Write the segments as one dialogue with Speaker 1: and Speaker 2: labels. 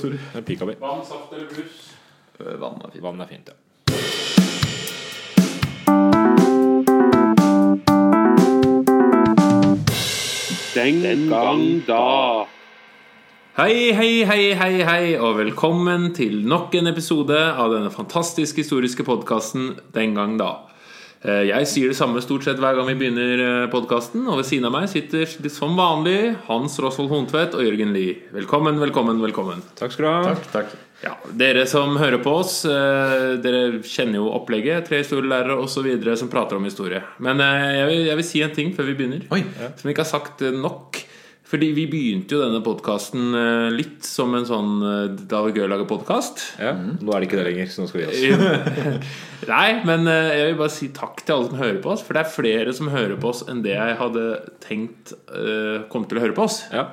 Speaker 1: Sorry.
Speaker 2: Det er pika mi. Eh,
Speaker 3: Vann, saft eller brus?
Speaker 1: Øh, Vann er fint.
Speaker 2: Vann er fint, ja.
Speaker 3: Den, gang da.
Speaker 2: Hei, hei, hei, hei, hei, og velkommen til nok en episode av denne fantastisk historiske podkasten Den gang da. Eh, Jeg sier det samme stort sett hver gang vi begynner podkasten, og ved siden av meg sitter som vanlig Hans Rosvold Hontvedt og Jørgen Lie. Velkommen, velkommen, velkommen.
Speaker 4: Takk skal du ha.
Speaker 1: Takk, takk.
Speaker 2: Ja, Dere som hører på oss, eh, dere kjenner jo opplegget. Tre historielærere osv. som prater om historie. Men eh, jeg vil, jeg vil si en ting før vi begynner.
Speaker 1: Oi.
Speaker 2: Som ikke har sagt eh, nok. Fordi vi begynte jo denne podkasten litt som en sånn eh, Da var det gøy å lage podkast.
Speaker 4: Ja,
Speaker 1: Mm.
Speaker 4: Nå er det ikke det lenger, så nå skal vi gi oss.
Speaker 2: Nei, men eh, jeg vil bare si takk til alle som hører på oss. For det er flere som hører på oss enn det jeg hadde tenkt eh, kom til å høre på oss.
Speaker 4: Ja.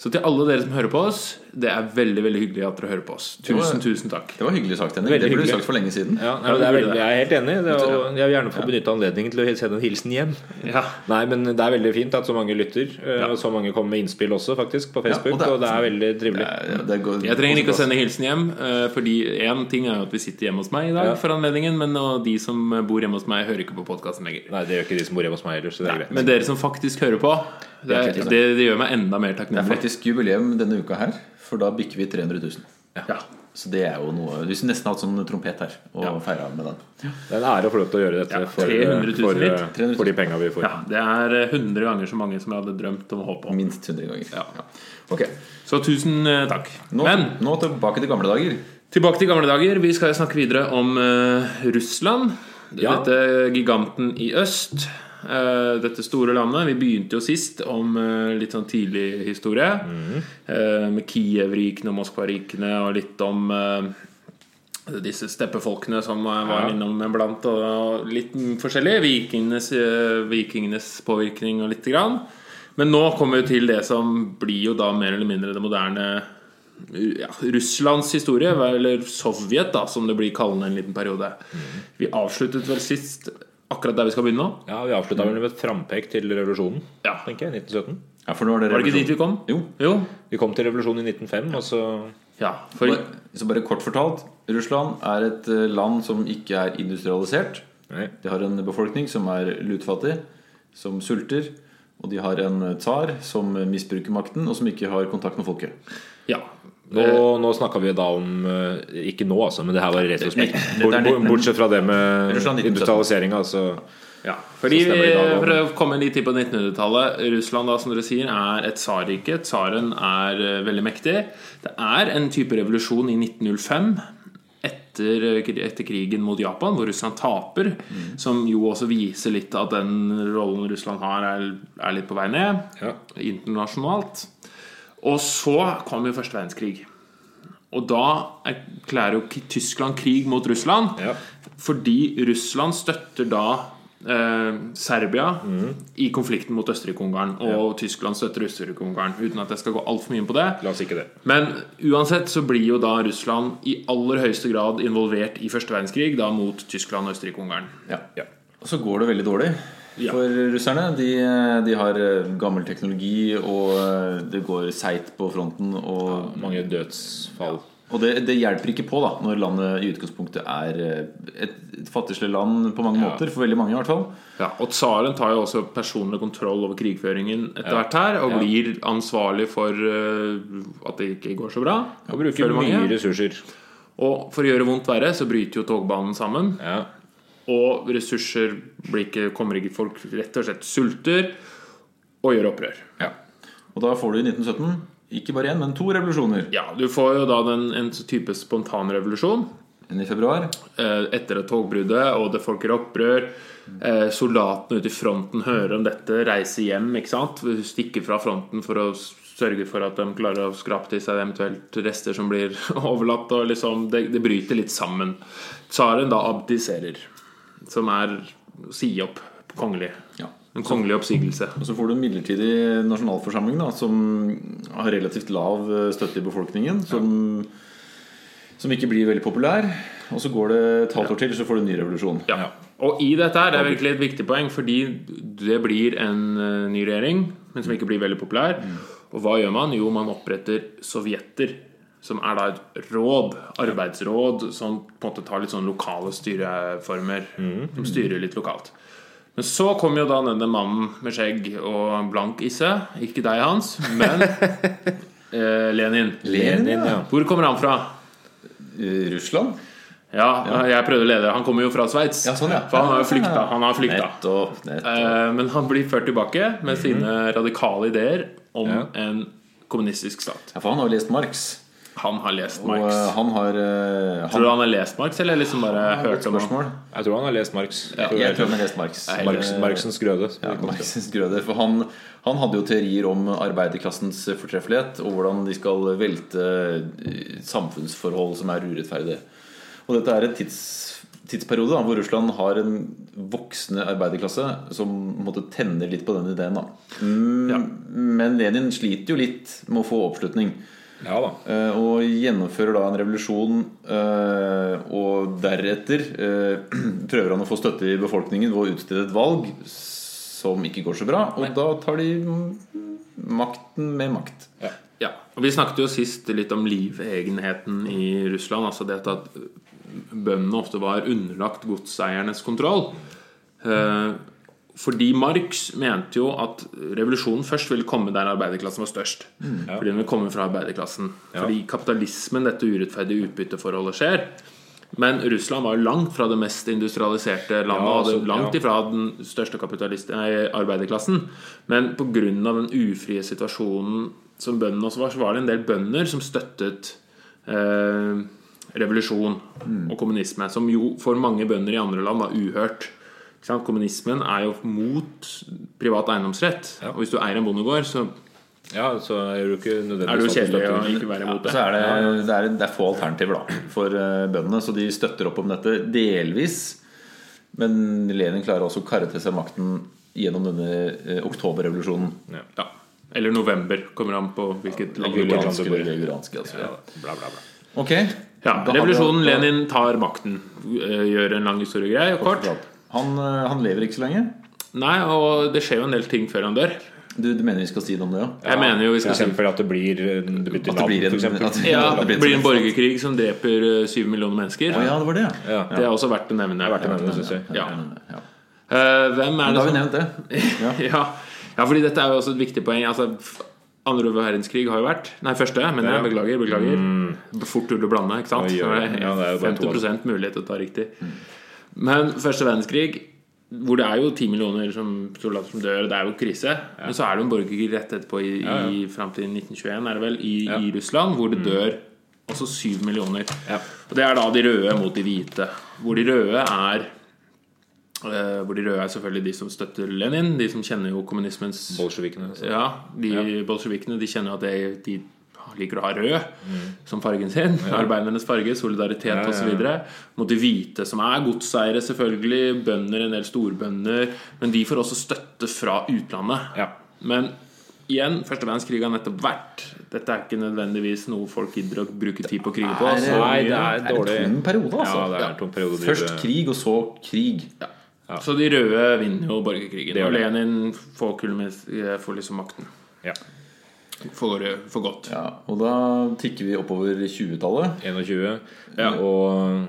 Speaker 2: Så til alle dere som hører på oss, det er veldig veldig hyggelig at dere hører på oss. Tusen, tusen takk.
Speaker 1: Det var hyggelig sagt, Henrik.
Speaker 4: Veldig
Speaker 1: Det burde du
Speaker 4: hyggelig.
Speaker 1: sagt for lenge siden.
Speaker 4: Ja, nei, men det er veldig, jeg er helt enig. Det er, jo- jeg vil gjerne få benytte anledningen til å sende en hilsen hjem.
Speaker 2: Ja,
Speaker 4: Nei, men det er veldig fint at så mange lytter, eh, og så mange kommer med innspill også, faktisk, på Facebook. og,
Speaker 1: og det
Speaker 4: det
Speaker 1: er-
Speaker 4: er, veldig trivelig.
Speaker 1: Ja, ja, det går-
Speaker 2: Jeg trenger ikke å sende hilsen hjem, eh, fordi én ting er jo at vi sitter hjemme hos meg i dag
Speaker 4: Ja.
Speaker 2: for anledningen, men og de som bor hjemme hos meg, hører ikke på podkasten lenger.
Speaker 4: Nei, det gjør ikke de som bor hjemme hos meg heller, så det er greit.
Speaker 2: Men dere som faktisk hører på, det,
Speaker 1: Det er
Speaker 2: det,
Speaker 1: kult,
Speaker 2: det, gjør meg enda mer
Speaker 1: Det er
Speaker 2: takknemlig.
Speaker 1: faktisk jubileum denne uka her, for da bikker vi 300 000.
Speaker 2: Ja.
Speaker 1: Så det er jo noe Vi skulle nesten hatt sånn trompet her og feiret feira med den.
Speaker 4: Det er en ære å få lov til å gjøre dette
Speaker 2: Ja,
Speaker 4: for,
Speaker 2: 300 000
Speaker 4: for, eh,
Speaker 2: litt.
Speaker 4: for de penga vi får.
Speaker 2: ja, Det er eh, 100 ganger så mange som jeg hadde drømt om å håpe om.
Speaker 1: Minst 100 ganger.
Speaker 2: Ja.
Speaker 1: Ok,
Speaker 2: Så tusen eh, takk.
Speaker 1: nå,
Speaker 2: Men
Speaker 1: nå tilbake til gamle dager.
Speaker 2: tilbake til gamle dager. Vi skal jo snakke videre om eh, Russland.
Speaker 4: Ja.
Speaker 2: Dette giganten i øst. eh, dette store landet. Vi begynte jo sist om eh, litt sånn tidlig historie. eh, med Kiev-rikene og Moskva-rikene og litt om eh, disse steppefolkene som eh, var
Speaker 4: Ja.
Speaker 2: innom iblant. Og, og litt forskjellig. Vikingenes, eh, vikingenes påvirkning og lite grann. Men nå kommer vi til det som blir jo da mer eller mindre det moderne ja, Russlands historie, eller Sovjet, da, som det blir kallende en liten periode. Vi avsluttet vel sist akkurat der vi skal begynne nå.
Speaker 4: Ja, Vi avslutta vel med et frampek til revolusjonen,
Speaker 2: Ja.
Speaker 4: tenker jeg. 1917.
Speaker 1: Ja, for nå er det
Speaker 2: Var det ikke
Speaker 1: revolusjon.
Speaker 2: dit vi kom?
Speaker 1: Jo.
Speaker 2: Jo.
Speaker 4: Vi kom til revolusjonen i 1905, og så
Speaker 2: Ja, for
Speaker 1: Bare, så bare kort fortalt, Russland er et eh, land som ikke er industrialisert.
Speaker 4: Nei.
Speaker 1: De har en befolkning som er lutfattig, som sulter. Og de har en eh, tsar som misbruker makten, og som ikke har kontakt med folket.
Speaker 2: ja.
Speaker 4: Nå, nå snakka vi da om eh, Ikke nå, altså, men det her var i retrospekt.
Speaker 1: Dette er
Speaker 4: Bort, bort,
Speaker 1: 19.
Speaker 4: bortsett fra det med
Speaker 1: Russland 1917.
Speaker 4: industrialiseringa, altså.
Speaker 2: ja. Fordi,
Speaker 4: Så stemmer det i dag også.
Speaker 2: for å komme litt inn på 1900-tallet Russland da, som dere sier, er et tsarrike. Tsaren er eh, veldig mektig. Det er en type revolusjon i 1905. Etter, eh, kri- etter krigen mot Japan, hvor Russland taper.
Speaker 4: Mm.
Speaker 2: Som jo også viser litt at den rollen Russland har, er, er litt på vei ned.
Speaker 4: Ja.
Speaker 2: internasjonalt. Og så kom jo første verdenskrig. Og da erklærer jo K- Tyskland krig mot Russland.
Speaker 4: Ja.
Speaker 2: Fordi Russland støtter da eh, Serbia i konflikten mot Østerrike-Ungarn. Og Tyskland støtter Østerrike-Ungarn. Uten at jeg skal gå altfor mye inn på det.
Speaker 4: La oss ikke det.
Speaker 2: Men uansett så blir jo da Russland i aller høyeste grad involvert i første verdenskrig, da mot Tyskland og Østerrike-Ungarn.
Speaker 1: Ja.
Speaker 4: Ja.
Speaker 1: Og så går det veldig dårlig
Speaker 2: Ja.
Speaker 1: for russerne. De, de har eh, gammel teknologi, og eh, det går seigt på fronten. Og,
Speaker 4: Mange dødsfall.
Speaker 1: og det, det hjelper ikke på da når landet i utgangspunktet er eh, et, et fattigslig land på mange
Speaker 4: Ja.
Speaker 1: måter. For veldig mange, i hvert fall.
Speaker 2: Ja, og tsaren tar jo også personlig kontroll over krigføringen etter hvert her, og
Speaker 4: Ja.
Speaker 2: blir ansvarlig for eh, at det ikke går så bra.
Speaker 4: Og bruker
Speaker 2: Føler mange.
Speaker 4: mye ressurser.
Speaker 2: Og for å gjøre vondt verre, så bryter jo togbanen sammen.
Speaker 4: Ja.
Speaker 2: Og ressurser blir ikke, kommer ikke folk rett og slett sulter og gjør opprør.
Speaker 4: ja.
Speaker 1: Og da får du i 1917 ikke bare én, men to revolusjoner.
Speaker 2: Ja, du får jo da den, en type spontanrevolusjon.
Speaker 1: En i februar.
Speaker 2: eh, etter et togbruddet, og det folk gjør opprør. Eh, soldatene ute i fronten hører om dette, reiser hjem, ikke sant? stikker fra fronten for å sørge for at de klarer å skrape til seg eventuelt rester som blir overlatt. Og liksom, det, det bryter litt sammen. Tsaren da abdiserer, som er å si opp kongelig.
Speaker 1: Ja.
Speaker 2: En kongelig oppsigelse.
Speaker 1: Og så får du en midlertidig nasjonalforsamling da, som har relativt lav eh, støtte i befolkningen. Som, som ikke blir veldig populær. Og så går det et halvt år til, så får du en ny revolusjon.
Speaker 2: Ja. Og i dette her, det er virkelig et viktig poeng, fordi det blir en eh, ny
Speaker 1: Mm.
Speaker 2: regjering, men som ikke blir veldig populær. Og hva gjør man? Jo, man oppretter sovjetter. som er da et råd, arbeidsråd, som på en måte tar litt sånn lokale styreformer.
Speaker 1: Mm.
Speaker 2: Som styrer litt lokalt. Men så kom jo da denne mannen med skjegg og blank isse. Ikke deg, Hans, men eh, Lenin.
Speaker 1: Lenin, ja.
Speaker 2: Hvor kommer han fra?
Speaker 1: I Russland?
Speaker 2: Ja, jeg prøvde å lede. Han kommer jo fra Sveits.
Speaker 1: Ja, sånn, ja.
Speaker 2: For han har jo flykta. Han har flykta.
Speaker 1: Nettopp. nettopp.
Speaker 2: Eh, Men han blir ført tilbake med sine
Speaker 1: Mhm.
Speaker 2: radikale ideer om en kommunistisk stat.
Speaker 1: Ja, for han har jo lest Marx.
Speaker 2: Han har lest
Speaker 1: Og
Speaker 2: Marx.
Speaker 1: eh, han har eh, han,
Speaker 2: Tror du han har lest Marx, eller liksom bare hørt om han?
Speaker 1: spørsmål.
Speaker 4: Jeg tror han har lest Marx.
Speaker 1: Jeg tror han har lest Marx. Eh,
Speaker 2: Nei,
Speaker 4: Marx Marxens grøde.
Speaker 1: Ja, Marxens grøde. For han, han hadde jo teorier om arbeiderklassens fortreffelighet, og hvordan de skal velte eh, samfunnsforhold som er urettferdige. Og dette er en tids, tidsperiode da, hvor Russland har en voksende arbeiderklasse som på en måte tenner litt på den ideen. Da. Mm, Men Lenin sliter jo litt med å få oppslutning.
Speaker 4: Ja da.
Speaker 1: eh, Og gjennomfører da en revolusjon, eh, og deretter eh, prøver han å få støtte i befolkningen ved å utstede et valg som ikke går så bra. Og da tar de makten med makt.
Speaker 2: Ja. Og vi snakket jo sist litt om livegenheten i Russland. Altså det at bøndene ofte var underlagt godseiernes kontroll. Eh, Fordi Marx mente jo at revolusjonen først ville komme der arbeiderklassen var størst.
Speaker 1: Mm.
Speaker 2: Fordi den ville komme fra arbeiderklassen. Fordi kapitalismen, dette urettferdige utbytteforholdet, skjer. Men Russland var jo langt fra det mest industrialiserte landet.
Speaker 4: Ja,
Speaker 2: og hadde
Speaker 4: altså,
Speaker 2: langt
Speaker 4: ja.
Speaker 2: ifra den største kapitalist- nei, arbeiderklassen. Men pga. den ufrie situasjonen som bøndene også var, så var det en del bønder som støttet eh, revolusjon og kommunisme. Som jo for mange bønder i andre land var uhørt. Ikke sant? Kommunismen er jo mot privat eiendomsrett. Og hvis du eier en bondegård, så
Speaker 4: Ja, så er du ikke
Speaker 2: er
Speaker 4: nødvendigvis
Speaker 2: det jo
Speaker 4: at du
Speaker 2: kjedelig å
Speaker 4: støtter-
Speaker 2: ikke være imot
Speaker 1: Så
Speaker 2: det.
Speaker 1: er det, det, er, det er få alternativer da for eh, bøndene, så de støtter opp om dette delvis. Men Lenin klarer også å karre til seg makten gjennom denne eh, oktoberrevolusjonen.
Speaker 2: Ja. Eller november, kommer an på hvilket land du
Speaker 4: Gulianske
Speaker 2: bor i.
Speaker 1: Guranske, guranske, altså. ja.
Speaker 4: Bla, bla, bla.
Speaker 1: Ok.
Speaker 2: Ja,
Speaker 1: Da hadde-
Speaker 2: revolusjonen, Lenin tar makten. eh, Gjør en lang historie grei og kort.
Speaker 1: Han, eh, han lever ikke så lenge.
Speaker 2: Nei, og det skjer jo en del ting før han dør.
Speaker 1: Du, du mener vi skal si det om det, ja?
Speaker 2: Jeg mener jo vi skal
Speaker 4: For
Speaker 2: si
Speaker 4: eksempel at det blir det bytter
Speaker 1: At det blir en,
Speaker 4: navn, for eksempel.
Speaker 1: at
Speaker 2: ja,
Speaker 1: at
Speaker 2: det blir en
Speaker 1: sånn-
Speaker 2: borgerkrig som dreper eh, syv millioner mennesker.
Speaker 1: Å ja, det var det, ja.
Speaker 4: Ja.
Speaker 2: Det er også verdt å nevne.
Speaker 4: verdt å nevne, synes jeg.
Speaker 2: Ja.
Speaker 1: ja.
Speaker 2: Eh, hvem er
Speaker 1: Da
Speaker 2: det
Speaker 1: har vi
Speaker 2: som
Speaker 1: nevnt det. Ja.
Speaker 2: ja. ja, fordi dette er jo også et viktig poeng. Altså, f- andre verdenskrig har jo vært Nei, første, men jeg beklager. beklager Fort gjort å blande, ikke sant?
Speaker 4: Mm. Oi, oi, oi. Ja, det er jo bare to. altså. Mm.
Speaker 2: 50 mulighet til å ta riktig. Men første verdenskrig, hvor det er jo ti millioner som soldater som dør, det er jo krise. Men så er det jo en borgerkrig rett etterpå, i, i, fram til 1921, er det vel, i, i Russland, hvor
Speaker 4: Mm.
Speaker 2: det dør også syv millioner. Og det er da de røde mot de hvite. Hvor de røde er eh, hvor de røde er selvfølgelig de som støtter Lenin, de som kjenner jo kommunismens
Speaker 4: Bolsjevikene. altså. så-
Speaker 2: ja, de bolsjevikene de kjenner at det, de liker å ha rød som fargen sin. Arbeidernes farge, solidaritet
Speaker 4: Mm. ja, ja.
Speaker 2: osv. Mot de hvite, som er godseiere, selvfølgelig. Bønder, en del storbønder. Men de får også støtte fra utlandet.
Speaker 4: Ja.
Speaker 2: Men igjen, første verdenskrig har nettopp vært. Dette er ikke nødvendigvis noe folk gidder å bruke tid på altså. å krige på.
Speaker 1: Nei,
Speaker 2: Så,
Speaker 4: Nei, det
Speaker 1: Det
Speaker 4: er
Speaker 1: er en
Speaker 4: dårlig.
Speaker 1: tung periode, altså.
Speaker 4: Ja, det er en tung periode å drive-
Speaker 1: Først krig, og så krig.
Speaker 2: så de røde vinner jo borgerkrigen.
Speaker 4: Det gjør
Speaker 2: Og
Speaker 4: det.
Speaker 2: Lenin får, kulmis, får liksom makten.
Speaker 4: Ja.
Speaker 2: For, for godt.
Speaker 1: Ja, og da tikker vi oppover 20-tallet.
Speaker 4: 21.
Speaker 2: Ja.
Speaker 4: Og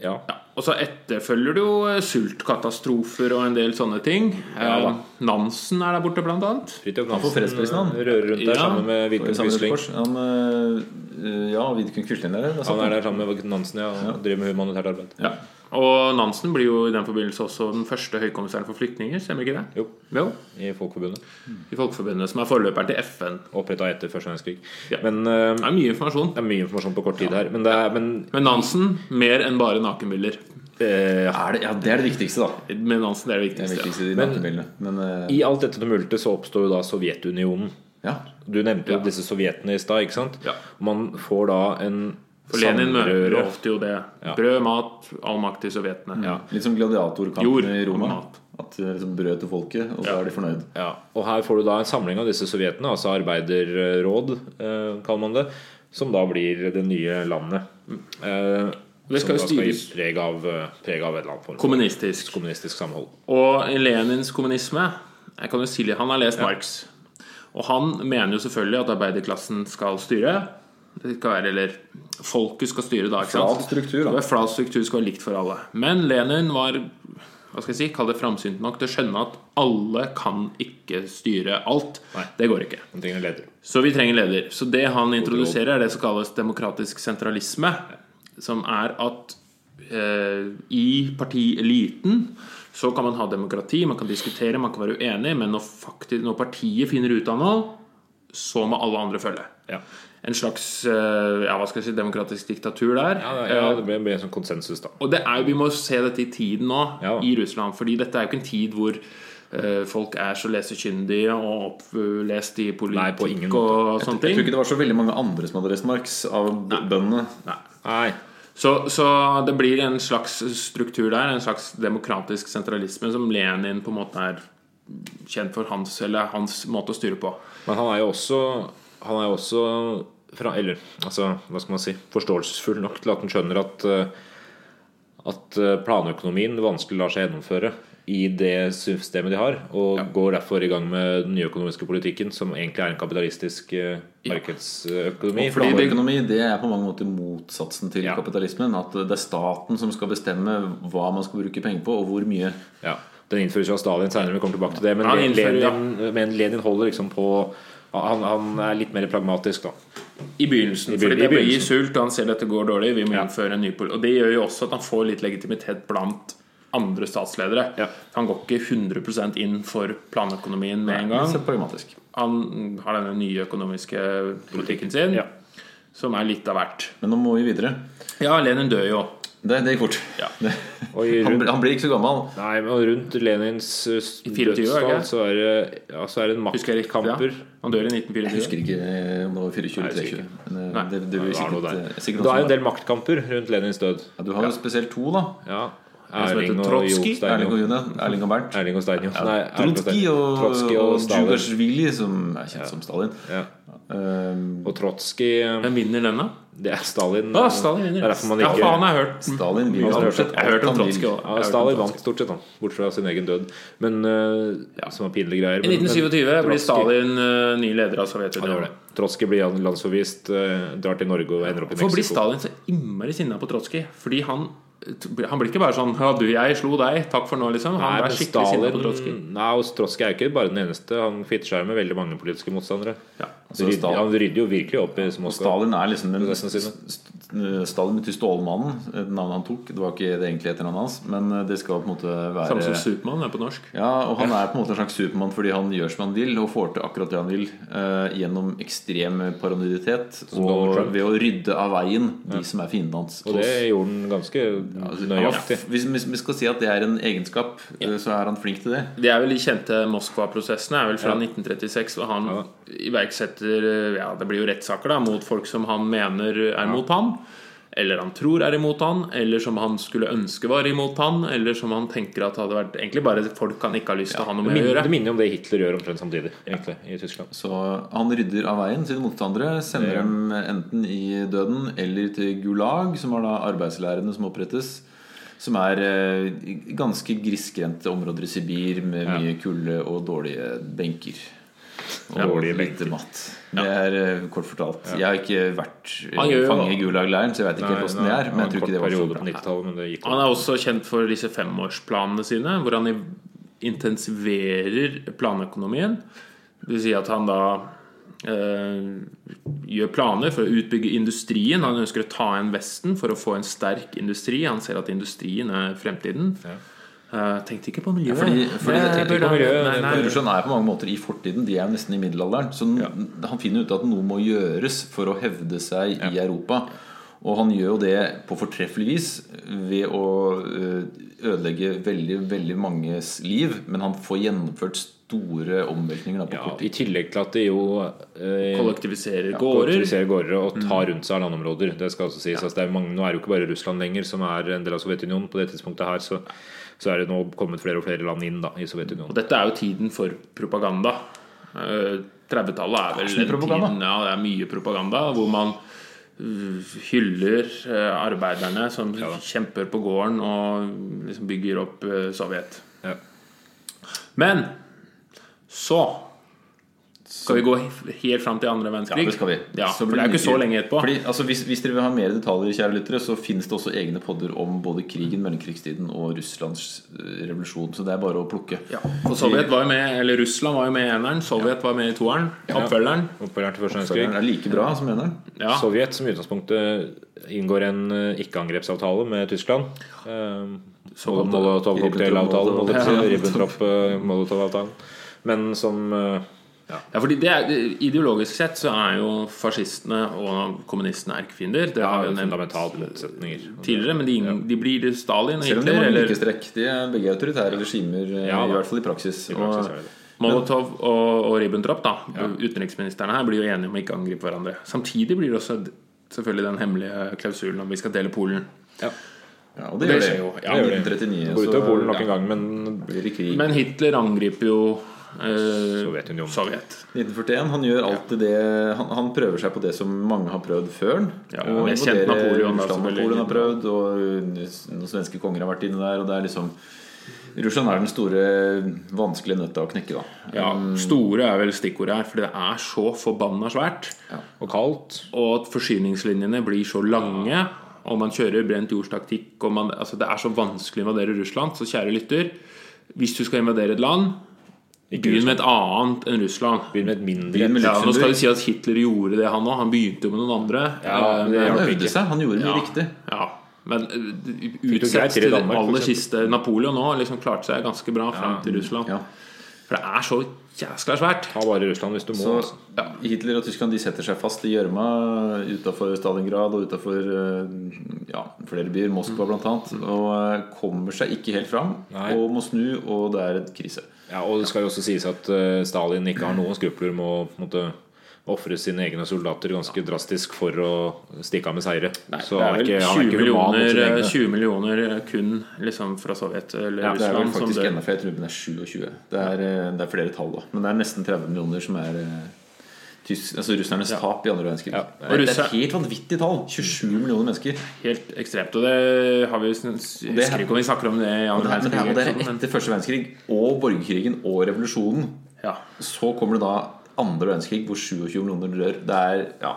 Speaker 4: ja.
Speaker 2: Ja, og så etterfølger det jo eh, sultkatastrofer og en del sånne ting. Eh, Nansen er der borte, blant annet.
Speaker 4: Fridtjof
Speaker 1: får fredsprisen, han.
Speaker 4: Nansen rører rundt der
Speaker 2: Ja.
Speaker 4: sammen med Vidkun
Speaker 1: Sammen med Røde
Speaker 4: Quisling.
Speaker 1: Kors. Han, øh, ja, Vidkun Quisling der. det er sant.
Speaker 4: Han er der sammen med Vidkun Nansen ja, og driver med humanitært arbeid.
Speaker 2: Ja. Og Nansen blir jo i den forbindelse også den første høykommissæren for flyktninger, stemmer ikke det?
Speaker 4: Jo,
Speaker 2: Jo.
Speaker 4: i Folkeforbundet.
Speaker 2: I Folkeforbundet, som er forløperen til FN.
Speaker 4: Oppretta etter første verdenskrig.
Speaker 2: Ja.
Speaker 4: Men eh,
Speaker 2: Det er mye informasjon.
Speaker 4: det er mye informasjon på kort tid her. Men det er men,
Speaker 2: Men Nansen mer enn bare nakenbilder.
Speaker 4: eh, ja.
Speaker 1: Er det, ja, det er det viktigste, da.
Speaker 2: Men Nansen det er det
Speaker 1: Det er det
Speaker 2: viktigste.
Speaker 1: viktigste i nakenbildene. Men øh,
Speaker 4: I alt dette tumultet så oppstår jo da Sovjetunionen.
Speaker 1: ja.
Speaker 4: Du nevnte jo disse sovjetene i stad, ikke sant?
Speaker 2: Ja.
Speaker 4: Man får da en
Speaker 2: For Lenin
Speaker 4: samrøre-
Speaker 2: lovte jo det.
Speaker 4: Ja.
Speaker 2: Brød, mat, all makt til sovjetene.
Speaker 1: Litt som
Speaker 2: Jord,
Speaker 1: gladiatorkampen i Roma.
Speaker 2: mat.
Speaker 1: At øh, liksom, brød til folket, og så er de fornøyd.
Speaker 4: Ja, og her får du da en samling av disse sovjetene, altså arbeiderråd, eh, kaller man det, som da blir det nye landet. Eh,
Speaker 2: Det skal jo
Speaker 4: som da skal gi
Speaker 2: styres.
Speaker 4: preg av, eh, preg av et eller annet form. for
Speaker 2: Kommunistisk.
Speaker 4: Kommunistisk samhold.
Speaker 2: Og i Lenins kommunisme Jeg kan jo si litt, Han har lest Marx. Og han mener jo selvfølgelig at arbeiderklassen skal styre. Det skal være, eller folket skal styre da. Ikke sant?
Speaker 1: Flat struktur,
Speaker 2: Det
Speaker 1: da.
Speaker 2: var flat struktur skal være likt for alle. Men Lenin var hva skal jeg si, kall det framsynt nok til å skjønne at alle kan ikke styre alt.
Speaker 4: Nei.
Speaker 2: Det går ikke.
Speaker 4: Han trenger en leder.
Speaker 2: Så vi trenger leder. Så det han introduserer, er det som kalles demokratisk sentralisme. Som er at eh, i partieliten så kan man ha demokrati, man kan diskutere, man kan være uenig, men når, fakti- når partiet finner ut av noe, så må alle andre følge.
Speaker 4: Ja.
Speaker 2: En slags eh, ja, hva skal jeg si, demokratisk diktatur der. Eh,
Speaker 4: Ja, ja, det ble, ble en sånn konsensus, da.
Speaker 2: Og det er, jo- vi må se dette i tiden nå,
Speaker 4: Ja.
Speaker 2: i Russland. Fordi dette er jo ikke en tid hvor eh, folk er så lesekyndige og opplest i
Speaker 4: Nei, på ingen
Speaker 2: politikk og sånne
Speaker 1: Jeg tror
Speaker 2: ting.
Speaker 1: ikke det var så veldig mange andre som hadde reist Marx av b- bøndene.
Speaker 4: Nei.
Speaker 2: Så, så det blir en slags struktur der, en slags demokratisk sentralisme, som Lenin på en måte er kjent for hans, eller hans måte å styre på.
Speaker 4: Men han er jo også, han er jo også fra, eller, altså, hva skal man si, forståelsesfull nok til at han skjønner at, eh, at eh, planøkonomien vanskelig lar seg gjennomføre i det systemet de har, og går derfor i gang med den nye økonomiske politikken, som egentlig er en kapitalistisk eh, markedsøkonomi.
Speaker 1: Fordi
Speaker 4: Planøkonomi-
Speaker 1: økonomi det er på mange måter motsatsen til
Speaker 4: Ja.
Speaker 1: kapitalismen. At det er staten som skal bestemme hva man skal bruke penger på, og hvor mye.
Speaker 4: Ja, Den innføres jo av Stalin senere, vi kommer tilbake til det. Men,
Speaker 2: Ja, han
Speaker 4: Lenin,
Speaker 2: innfører, ja.
Speaker 4: men Lenin holder liksom på han, han er litt mer pragmatisk, da.
Speaker 2: I begynnelsen.
Speaker 4: I
Speaker 2: Fordi
Speaker 4: begynnelsen.
Speaker 2: det
Speaker 4: I
Speaker 2: blir
Speaker 4: begynnelsen.
Speaker 2: sult, og han ser dette går dårlig, vi må innføre en ny politikk. Og det gjør jo også at han får litt legitimitet blant andre statsledere.
Speaker 4: Ja.
Speaker 2: Han går ikke 100 inn for planøkonomien med en gang.
Speaker 1: Så pragmatisk.
Speaker 2: Han har denne nye økonomiske politikken sin,
Speaker 4: Ja.
Speaker 2: som er litt av hvert.
Speaker 1: Men nå må vi videre.
Speaker 2: Ja, Lenin dør jo.
Speaker 1: Det, det gikk fort.
Speaker 2: Ja.
Speaker 1: Det-
Speaker 4: Og i
Speaker 1: Han,
Speaker 4: rundt,
Speaker 1: ble- han blir ikke så gammel.
Speaker 4: nei, men rundt Lenins eh,
Speaker 2: 24 år,
Speaker 4: dødsfall
Speaker 2: ikke?
Speaker 4: så er det, ja, så er det en
Speaker 2: Husker jeg riktig?
Speaker 4: maktkamper.
Speaker 2: Ja. Han dør i
Speaker 1: Jeg
Speaker 2: 1924.
Speaker 1: husker ikke eh, om det var 24
Speaker 4: Nei,
Speaker 1: eller
Speaker 4: jeg husker
Speaker 1: 23. Men eh,
Speaker 2: Nei.
Speaker 1: det, det blir
Speaker 4: Det er noe
Speaker 1: sikkert,
Speaker 4: der.
Speaker 1: eh,
Speaker 4: Det er
Speaker 1: sikkert
Speaker 4: jo
Speaker 1: noe
Speaker 4: en
Speaker 1: sånt.
Speaker 4: del maktkamper rundt Lenins død.
Speaker 1: Ja, Du har jo spesielt to, da.
Speaker 4: Ja.
Speaker 2: En som heter
Speaker 4: Erling og Jo
Speaker 2: Trotskij.
Speaker 1: Erling
Speaker 4: Steinjo.
Speaker 1: og June. Erling og Bernt.
Speaker 4: Erling og Steinjo. Nei, Erling og
Speaker 1: Trotskij
Speaker 4: Steinjo.
Speaker 1: og,
Speaker 4: Trotskij og
Speaker 1: og
Speaker 4: Stalin.
Speaker 1: Djugashvili, som er kjent som Stalin.
Speaker 4: Ja.
Speaker 1: Eh,
Speaker 4: Og Trotskij eh,
Speaker 2: Hvem vinner den, da?
Speaker 4: Det er Stalin.
Speaker 2: Ja,
Speaker 4: eh,
Speaker 2: Stalin vinner.
Speaker 4: Det er derfor man
Speaker 2: Ja,
Speaker 4: ikke
Speaker 2: faen, jeg har hørt
Speaker 1: Stalin blir
Speaker 4: har
Speaker 1: stort
Speaker 4: hørt-
Speaker 1: sett
Speaker 2: Jeg har hørt om
Speaker 1: alt han
Speaker 2: Trotskij
Speaker 1: vil.
Speaker 2: også.
Speaker 4: Ja, Stalin vant stort sett, da. Bort fra sin egen død. Men eh, Som var pinlige greier.
Speaker 2: I 1927 blir
Speaker 4: Trotskij-
Speaker 2: Stalin eh, ny leder av
Speaker 4: Han gjør
Speaker 2: Sovjetunionen.
Speaker 4: det. Trotskij blir landsforvist, eh, drar til Norge og ender opp i
Speaker 2: Hvorfor blir Stalin
Speaker 4: Mexico.
Speaker 2: så innmari sinna på Trotskij? Fordi han han blir ikke bare sånn 'Ja, du, jeg slo deg. Takk for nå', liksom. Han
Speaker 4: Nei,
Speaker 2: er
Speaker 4: men
Speaker 2: skikkelig sinna på Trotskij.
Speaker 4: Stalin Nei, og Trotskij er jo ikke bare den eneste. Han kvitter seg med veldig mange politiske motstandere.
Speaker 2: Ja.
Speaker 1: Så
Speaker 4: Rydder-
Speaker 1: Stalin-
Speaker 4: han rydder jo virkelig opp i Moskva.
Speaker 1: Stalin er liksom den,
Speaker 4: Resten av sine.
Speaker 1: St- Stalin betyr Stålmannen, eh, navnet han tok. Det var ikke det egentlige etternavnet hans, men eh, det skal på en måte være
Speaker 2: Samme som Supermann er på norsk.
Speaker 1: ja, og Han er på en måte en slags Supermann fordi han gjør som han vil og får til akkurat det han vil eh, gjennom ekstrem paranoiditet
Speaker 4: Donald
Speaker 1: og
Speaker 4: Trump.
Speaker 1: ved å rydde av veien de som er fienden hans. Altså,
Speaker 4: Og det gjorde han ganske nøyaktig.
Speaker 1: Hvis hvis vi skal si at det er en egenskap, eh, så er han flink til det.
Speaker 2: De er vel de kjente Moskva-prosessene er vel fra 1936, hvor han
Speaker 4: Ja.
Speaker 2: iverksetter eh, Ja, det blir jo rettssaker, da, mot folk som han mener er mot han. Eller han tror er imot han, eller som han skulle ønske var imot han, eller som han tenker at hadde vært Egentlig bare folk han ikke har lyst til å ha noe
Speaker 4: Det
Speaker 2: med å
Speaker 4: minner,
Speaker 2: gjøre.
Speaker 4: det minner jo om det Hitler gjør omtrent samtidig, egentlig, i Tyskland.
Speaker 1: Så han rydder av veien sine motstandere, sender dem enten i døden eller til Gulag, som er da arbeidsleirene som opprettes. Som er eh, ganske grisgrendte områder i Sibir med mye kulde og dårlige benker. Og
Speaker 4: Dårlige
Speaker 1: lite mat. Det er eh, kort fortalt. Jeg har ikke vært
Speaker 2: Han gjør
Speaker 1: eh,
Speaker 2: jo-
Speaker 1: fange i Gulag-leiren, så jeg vet ikke
Speaker 4: Nei,
Speaker 1: helt åssen det
Speaker 4: nei,
Speaker 1: er. Men jeg tror ikke det var så
Speaker 4: periode på
Speaker 1: bra.
Speaker 4: 90-tallet, men det gikk
Speaker 2: Han er også kjent for disse femårsplanene sine, hvor han i- intensiverer planøkonomien. Det vil si at han da eh, gjør planer for å utbygge industrien. Han ønsker å ta igjen Vesten for å få en sterk industri. Han ser at industrien er fremtiden. Eh, tenkte ikke på miljøet.
Speaker 1: Fordi, fordi
Speaker 2: Nei,
Speaker 1: jeg tenkte
Speaker 2: burde-
Speaker 1: på miljøet
Speaker 2: nei, nei.
Speaker 1: Russland er på mange måter i fortiden. De er jo nesten i middelalderen. Så n- han finner ut at noe må gjøres for å hevde seg i Europa. Og han gjør jo det på fortreffelig vis ved å øh, ødelegge veldig, veldig manges liv. Men han får gjennomført store omveltninger da på
Speaker 4: Ja,
Speaker 1: kort tid.
Speaker 4: I tillegg til at det jo eh,
Speaker 2: Kollektiviserer gårder.
Speaker 4: kollektiviserer gårder og tar rundt seg landområder. Det skal også sies. Altså, det er mange, nå er det jo ikke bare Russland lenger som er en del av Sovjetunionen. På det tidspunktet her så, så er det nå kommet flere og flere land inn da, i
Speaker 2: Og
Speaker 4: Sovjetunionen.
Speaker 2: dette er jo tiden for propaganda. Eh, 30-tallet er vel
Speaker 1: så mye
Speaker 2: den
Speaker 1: propaganda.
Speaker 2: tiden ja, det er mye propaganda hvor man uh, hyller eh, arbeiderne som kjemper på gården og liksom bygger opp eh, Sovjet.
Speaker 4: Ja.
Speaker 2: Men så Skal vi gå he- helt fram til andre verdenskrig?
Speaker 1: Ja, det skal vi.
Speaker 2: Ja,
Speaker 1: Så
Speaker 2: for
Speaker 1: blir
Speaker 2: det er jo
Speaker 1: mye
Speaker 2: ikke så
Speaker 1: krig.
Speaker 2: lenge etterpå.
Speaker 1: Fordi, altså, hvis, hvis dere vil ha mer detaljer, kjære lyttere, så finnes det også egne podder om både krigen, mellomkrigstiden og Russlands eh, revolusjon. Så det er bare å plukke.
Speaker 2: ja, for Sovjet var jo med, eller Russland var jo med i eneren, Sovjet var med i toeren, oppfølgeren.
Speaker 4: Opplært til første
Speaker 1: Det
Speaker 4: verdenskrig.
Speaker 1: er like bra som eneren.
Speaker 2: Ja.
Speaker 4: Sovjet som i utgangspunktet inngår en eh, ikke-angrepsavtale med Tyskland. Eh,
Speaker 2: Såkalt,
Speaker 4: Molotov-cocktail-avtalen. holdt jeg på å si.
Speaker 1: Ja.
Speaker 4: Ribbentrop-molotov-avtalen. Men som eh,
Speaker 2: Ja, fordi det er, Ideologisk sett så er jo fascistene og kommunistene erkefiender. Det har
Speaker 4: har
Speaker 2: vi jo nevnt
Speaker 4: fundamentale motsetninger.
Speaker 2: tidligere, men de, de blir Stalin og
Speaker 1: Selv om det
Speaker 2: Hitler.
Speaker 1: var en
Speaker 2: Eller
Speaker 1: likestrekk. De er begge autoritære regimer, eh,
Speaker 4: Ja,
Speaker 1: i
Speaker 4: da.
Speaker 1: hvert fall i praksis.
Speaker 4: I praksis er det
Speaker 1: og,
Speaker 4: det.
Speaker 2: Molotov og, og Ribbentrop, da. Utenriksministrene her blir jo enige om å ikke angripe hverandre. Samtidig blir det også d- selvfølgelig den hemmelige klausulen om vi skal dele Polen.
Speaker 1: ja, og det gjør
Speaker 2: Det
Speaker 1: det.
Speaker 2: skjer jo.
Speaker 4: Ja, det gjør det.
Speaker 1: 1939.
Speaker 4: Går ut av Polen nok
Speaker 1: ja,
Speaker 4: en gang, men
Speaker 1: blir det krig.
Speaker 2: Men Hitler angriper jo eh,
Speaker 4: Sovjetunionen.
Speaker 2: Sovjet.
Speaker 1: 1941. Han gjør alltid det han, han prøver seg på det som mange har prøvd før.
Speaker 2: Ja,
Speaker 1: og
Speaker 2: jeg kjente
Speaker 1: invaderer
Speaker 2: Napoleon da,
Speaker 1: Russland.
Speaker 2: selvfølgelig.
Speaker 1: Napoleon har prøvd, og eh, noen svenske konger har vært inne der. Og det er liksom Russland er den store, vanskelige nøtta å knekke, da.
Speaker 2: Ja, Store er vel stikkordet her, for det er så forbanna svært.
Speaker 4: Og kaldt.
Speaker 2: Og at forsyningslinjene blir så lange. Og man kjører brent jordstaktikk. Og man, altså det er så vanskelig å invadere Russland. Så kjære lytter, hvis du skal invadere et land, begynn med et annet enn Russland.
Speaker 4: Begynner med et mindre
Speaker 1: Begynn med
Speaker 2: Ja, nå skal
Speaker 1: Luxembourg.
Speaker 2: vi si at Hitler gjorde det, han òg. Han begynte jo med noen andre.
Speaker 4: Ja,
Speaker 2: Eh,
Speaker 4: det
Speaker 1: Han
Speaker 4: hjalp
Speaker 1: øvde
Speaker 4: ikke.
Speaker 1: seg. Han gjorde mye
Speaker 2: Ja.
Speaker 1: riktig.
Speaker 2: Ja, men eh,
Speaker 4: du greit
Speaker 2: utsett
Speaker 4: til i
Speaker 2: til det
Speaker 4: Danmark, for
Speaker 2: aller
Speaker 4: eksempel?
Speaker 2: siste Napoleon nå liksom klarte seg ganske bra fram til Russland.
Speaker 1: Ja.
Speaker 2: For det er så jæskla svært.
Speaker 4: Ta bare Russland hvis du må.
Speaker 1: Så
Speaker 4: altså.
Speaker 1: ja, Hitler og Tyskland de setter seg fast i gjørma utafor Stalingrad og utafor ja, flere byer, Moskva bl.a., og eh, kommer seg ikke helt fram
Speaker 4: Nei.
Speaker 1: og må snu, og det er et krise.
Speaker 4: Ja, og det skal jo også sies at eh, Stalin ikke har noen skrupler med å på en måte ofre sine egne soldater ganske drastisk for å stikke av med seire. Så
Speaker 2: det er vel
Speaker 4: ikke- han
Speaker 2: 20
Speaker 4: er ikke human mot
Speaker 2: millioner, eh,
Speaker 4: sine egne.
Speaker 2: 20 millioner kun liksom fra Sovjet eller
Speaker 1: Det er vel
Speaker 2: Russland som
Speaker 1: faktisk
Speaker 2: dør.
Speaker 1: enda flere. Jeg tror den er 27. Det er, eh, det er flere tall, da. Men det er nesten 30 millioner som er eh, tysk, altså russernes tap i andre verdenskrig. Det,
Speaker 2: Og
Speaker 1: er, det er
Speaker 2: russer-
Speaker 1: et helt vanvittig tall! 27 millioner mennesker.
Speaker 2: Helt ekstremt. Og det har vi jo sn- Jeg
Speaker 1: det-
Speaker 2: husker ikke om vi snakker om det i
Speaker 1: Og
Speaker 2: andre
Speaker 1: det er, men det er, og det
Speaker 2: verdenskrig.
Speaker 1: er
Speaker 2: ikke sant,
Speaker 1: etter første verdenskrig og borgerkrigen og revolusjonen.
Speaker 2: men- Ja.
Speaker 1: Så kommer det da andre verdenskrig hvor 27 millioner dør. Det er ja,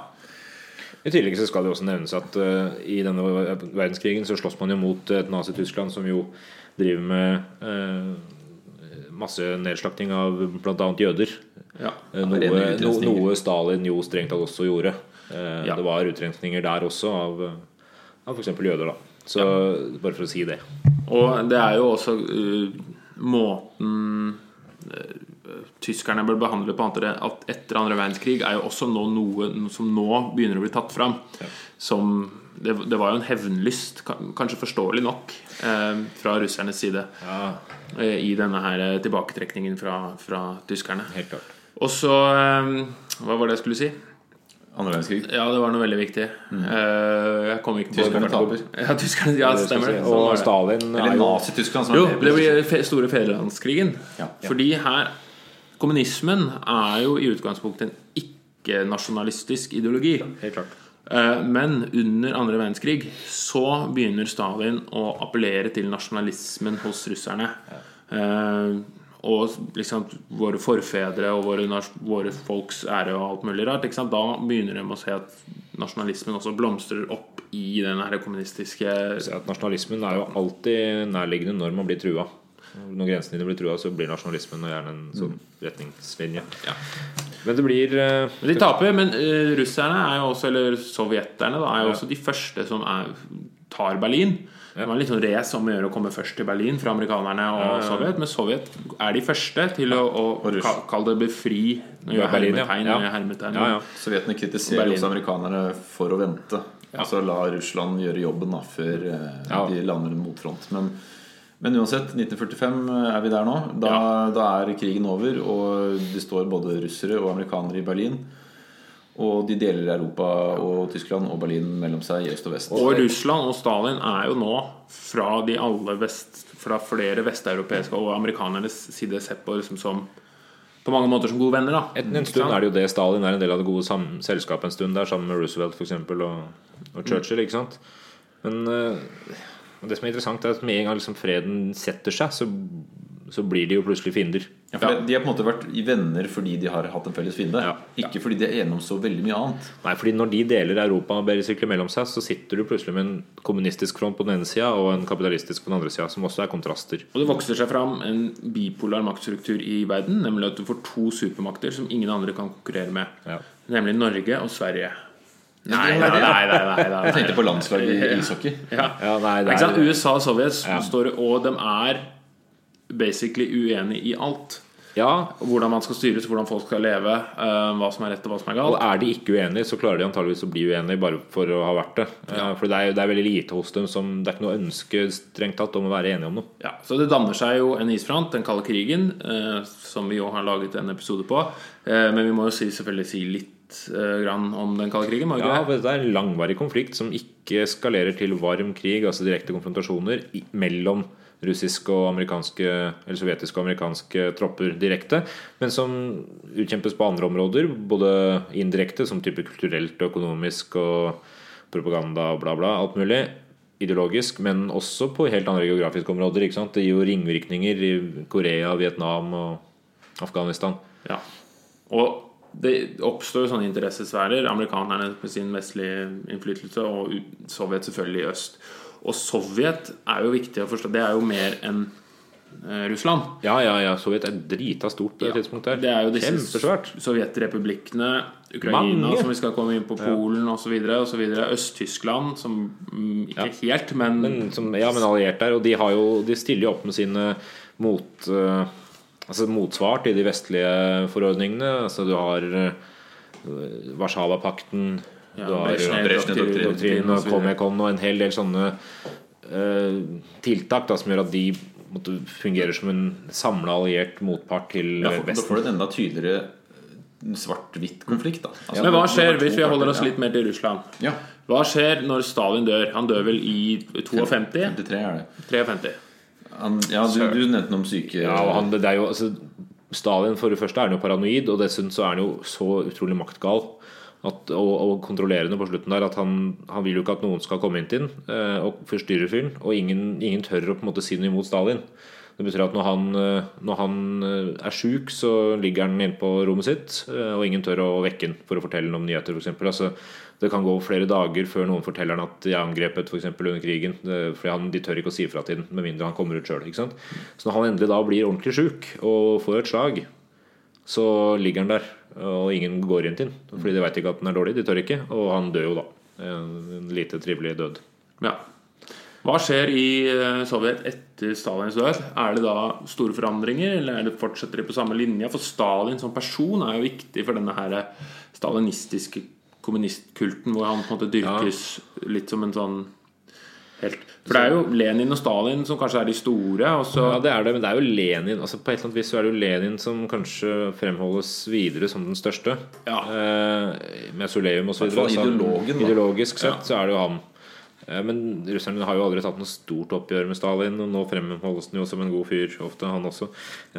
Speaker 4: I tillegg så skal det også nevnes at eh, i denne verdenskrigen så slåss man jo mot et Nazi-Tyskland som jo driver med eh, masse nedslakting av bl.a. jøder.
Speaker 2: Ja.
Speaker 4: Eh,
Speaker 1: rene
Speaker 4: Noe, no,
Speaker 1: utrensninger.
Speaker 4: noe Stalin jo strengt tatt også gjorde. Eh,
Speaker 2: Ja.
Speaker 4: Det var utrensninger der også av, eh, av f.eks. jøder. da Så bare for å si det.
Speaker 2: Og det er jo også eh, måten eh, tyskerne ble behandlet på andre, at etter andre verdenskrig, er jo også nå noe som nå begynner å bli tatt fram. Som det, det var jo en hevnlyst, kan- kanskje forståelig nok, eh, fra russernes side eh, i denne her eh, tilbaketrekningen fra, fra tyskerne.
Speaker 4: Helt klart.
Speaker 2: Og så eh, Hva var det jeg skulle si?
Speaker 1: andre verdenskrig.
Speaker 2: Ja, det var noe veldig viktig. Eh, jeg kom ikke på
Speaker 1: Mm. Tyskerne taper.
Speaker 2: Ja, tyskerne, ja, stemmer det. Sånn
Speaker 4: Og
Speaker 2: var det.
Speaker 4: Stalin er
Speaker 1: Eller
Speaker 4: jo
Speaker 1: Nazi-Tyskland. som
Speaker 2: Jo,
Speaker 1: er med.
Speaker 2: det blir fe- store fedrelandskrigen.
Speaker 1: Ja.
Speaker 2: Fordi her Kommunismen er jo i utgangspunktet en ikke-nasjonalistisk ideologi.
Speaker 4: Helt klart.
Speaker 2: Eh, Men under andre verdenskrig så begynner Stalin å appellere til nasjonalismen hos russerne. Eh, Og liksom våre forfedre og våre, nas- våre folks ære og alt mulig rart. Ikke sant? Da begynner de å se at nasjonalismen også blomstrer opp i den her kommunistiske
Speaker 4: Så at nasjonalismen er jo alltid nærliggende når man blir trua. Når grensene dine blir trua, så blir nasjonalismen og gjerne en sånn retningslinje. Men det blir eh,
Speaker 2: Men De taper, men eh, russerne er jo også, eller sovjeterne da, er jo også de første som er, tar Berlin. Det var litt sånn race om å gjøre å komme først til Berlin fra amerikanerne og Sovjet. Men Sovjet er de første til å, å
Speaker 1: russ.
Speaker 2: ka- kalle det befri Nå gjør jeg
Speaker 4: Berlin, ja.
Speaker 2: hermetegn.
Speaker 4: Ja.
Speaker 2: nå gjør jeg hermetegn.
Speaker 4: Ja, ja.
Speaker 1: Sovjetene kritiserer
Speaker 2: Berlin.
Speaker 1: også amerikanerne for å vente. Altså la Russland gjøre jobben da før eh,
Speaker 4: Ja.
Speaker 1: de lander en motfront. Men, men uansett, 1945 er vi der nå. Da, da er krigen over, og det står både russere og amerikanere i Berlin. Og de deler Europa og Tyskland og Berlin mellom seg i øst og vest.
Speaker 2: Og Russland og Stalin er jo nå fra de alle vest, fra flere vesteuropeiske og amerikanernes side sett på liksom som på mange måter som gode venner. da
Speaker 4: en, en stund er det jo det. Stalin er en del av det gode sam selskapet en stund der, sammen med Roosevelt for eksempel, og, og Churchill. ikke sant? Men eh, og det som er interessant, er at med en gang liksom freden setter seg, så, så blir de jo plutselig fiender.
Speaker 1: Ja, for De har på en måte vært venner fordi de har hatt en felles fiende.
Speaker 4: Ja.
Speaker 1: Ikke fordi de er enige om så veldig mye annet.
Speaker 4: Nei, fordi når de deler Europa og bergsykler mellom seg, så sitter du plutselig med en kommunistisk front på den ene sida og en kapitalistisk på den andre sida, som også er kontraster.
Speaker 2: Og det vokser seg fram en bipolar maktstruktur i verden, nemlig at du får to supermakter som ingen andre kan konkurrere med.
Speaker 4: Ja.
Speaker 2: Nemlig Norge og Sverige. Nei, nei,
Speaker 1: det var
Speaker 2: nei,
Speaker 1: det, ja.
Speaker 2: nei, nei, nei, nei.
Speaker 1: Jeg tenkte på landslaget i ishockey.
Speaker 2: Ja.
Speaker 4: Ja, nei, det
Speaker 2: Ikke sant?
Speaker 4: er-
Speaker 2: USA og Sovjet
Speaker 4: Ja.
Speaker 2: står Og de er basically uenige i alt.
Speaker 4: Ja,
Speaker 2: Hvordan man skal styres, hvordan folk skal leve, eh, hva som er rett og hva som er
Speaker 4: og
Speaker 2: galt.
Speaker 4: er de ikke uenige, så klarer de antageligvis å bli uenige bare for å ha vært det. Ja. For det er, jo- det er veldig lite hos dem som Det er ikke noe ønske strengt tatt om å være enige om noe.
Speaker 2: Ja, så det danner seg jo en isfront, den kalde krigen, eh, som vi jo har laget en episode på. Eh, men vi må jo si, selvfølgelig si litt eh, grann om den kalde krigen. må vi ikke
Speaker 4: Ja,
Speaker 2: det?
Speaker 4: for Det er en langvarig konflikt som ikke eskalerer til varm krig, altså direkte konfrontasjoner i- mellom russiske og amerikanske, eller sovjetiske og amerikanske tropper direkte, men som utkjempes på andre områder, både indirekte, som type kulturelt og økonomisk og propaganda og bla, bla, alt mulig, ideologisk, men også på helt andre geografiske områder. ikke sant? Det gir jo ringvirkninger i Korea, Vietnam og Afghanistan.
Speaker 2: Ja. Og det oppstår jo sånne interessesfærer. Amerikanerne med sin vestlige innflytelse, og u- Sovjet selvfølgelig i øst. Og Sovjet er jo viktig å forstå. Det er jo mer enn eh, Russland.
Speaker 4: Ja, ja, ja. Sovjet er drita stort på det tidspunktet her.
Speaker 2: Det er jo disse
Speaker 4: Kjempesvært.
Speaker 2: sovjetrepublikkene, Ukraina,
Speaker 4: Mange.
Speaker 2: som vi skal komme inn på, Polen osv., osv. Øst-Tyskland, som mm, ikke helt, men,
Speaker 4: Men som, ja, men alliert der. Og de, har jo, de stiller jo opp med sine mot, eh, altså motsvar til de vestlige forordningene. Altså du har eh, Warszawapakten,
Speaker 2: ja,
Speaker 4: du har
Speaker 1: Brezhnev-doktrinen,
Speaker 4: doktrinen
Speaker 2: og så
Speaker 4: og
Speaker 2: videre.
Speaker 4: Comecon og en hel del sånne eh, tiltak da, som gjør at de måtte fungere som en samla alliert motpart til
Speaker 1: Da får, da
Speaker 4: Vesten.
Speaker 1: får du en enda tydeligere svart-hvitt konflikt. Da. Altså,
Speaker 2: Men hva
Speaker 1: det-
Speaker 2: skjer
Speaker 1: det er to
Speaker 2: hvis vi holder oss
Speaker 1: parter,
Speaker 2: litt mer til Russland?
Speaker 1: Ja. Ja.
Speaker 2: Hva skjer når Stalin dør? Han dør vel i 52?
Speaker 1: 53 er det.
Speaker 2: 53.
Speaker 1: Han, ja, du, du nevnte noe om syke
Speaker 4: Ja, og han, det er jo, altså, Stalin for det første er han jo paranoid, og dessuten så er han jo så utrolig maktgal at, og, og kontrollerende på slutten der at han, han vil jo ikke at noen skal komme inn til han eh, og forstyrre fyren. Og ingen, ingen tør å på en måte si noe imot Stalin. Det betyr at når han, eh, når han eh, er sjuk, så ligger han inne på rommet sitt, eh, og ingen tør å vekke han for å fortelle ham om nyheter, f.eks. Altså, det kan gå flere dager før noen forteller han at de er angrepet for eksempel, under krigen. Det- Fordi han, De tør ikke å si ifra til ham med mindre han kommer ut sjøl. Så når han endelig da blir ordentlig sjuk og får et slag, så ligger han der, og ingen går inn til han. Fordi de veit ikke at han er dårlig. De tør ikke. Og han dør jo da. En en lite trivelig død.
Speaker 2: Ja. Hva skjer i eh, Sovjet etter Stalins død? Er det da store forandringer, eller er det fortsetter de på samme linja? For Stalin som person er jo viktig for denne her eh, stalinistiske kommunistkulten, hvor han på en måte dyrkes litt som en sånn helt For det er jo Lenin og Stalin som kanskje er de store, og så
Speaker 4: Ja, det er det, men det er jo Lenin altså På et eller annet vis så er det jo Lenin som kanskje fremholdes videre som den største.
Speaker 2: Ja.
Speaker 4: Eh, med Soleum og så
Speaker 1: I hvert fall
Speaker 4: videre. altså,
Speaker 1: ideologen, da.
Speaker 4: ideologisk sett så er det jo han. Eh, men russerne har jo aldri tatt noe stort oppgjør med Stalin, og nå fremholdes han jo som en god fyr ofte, han også,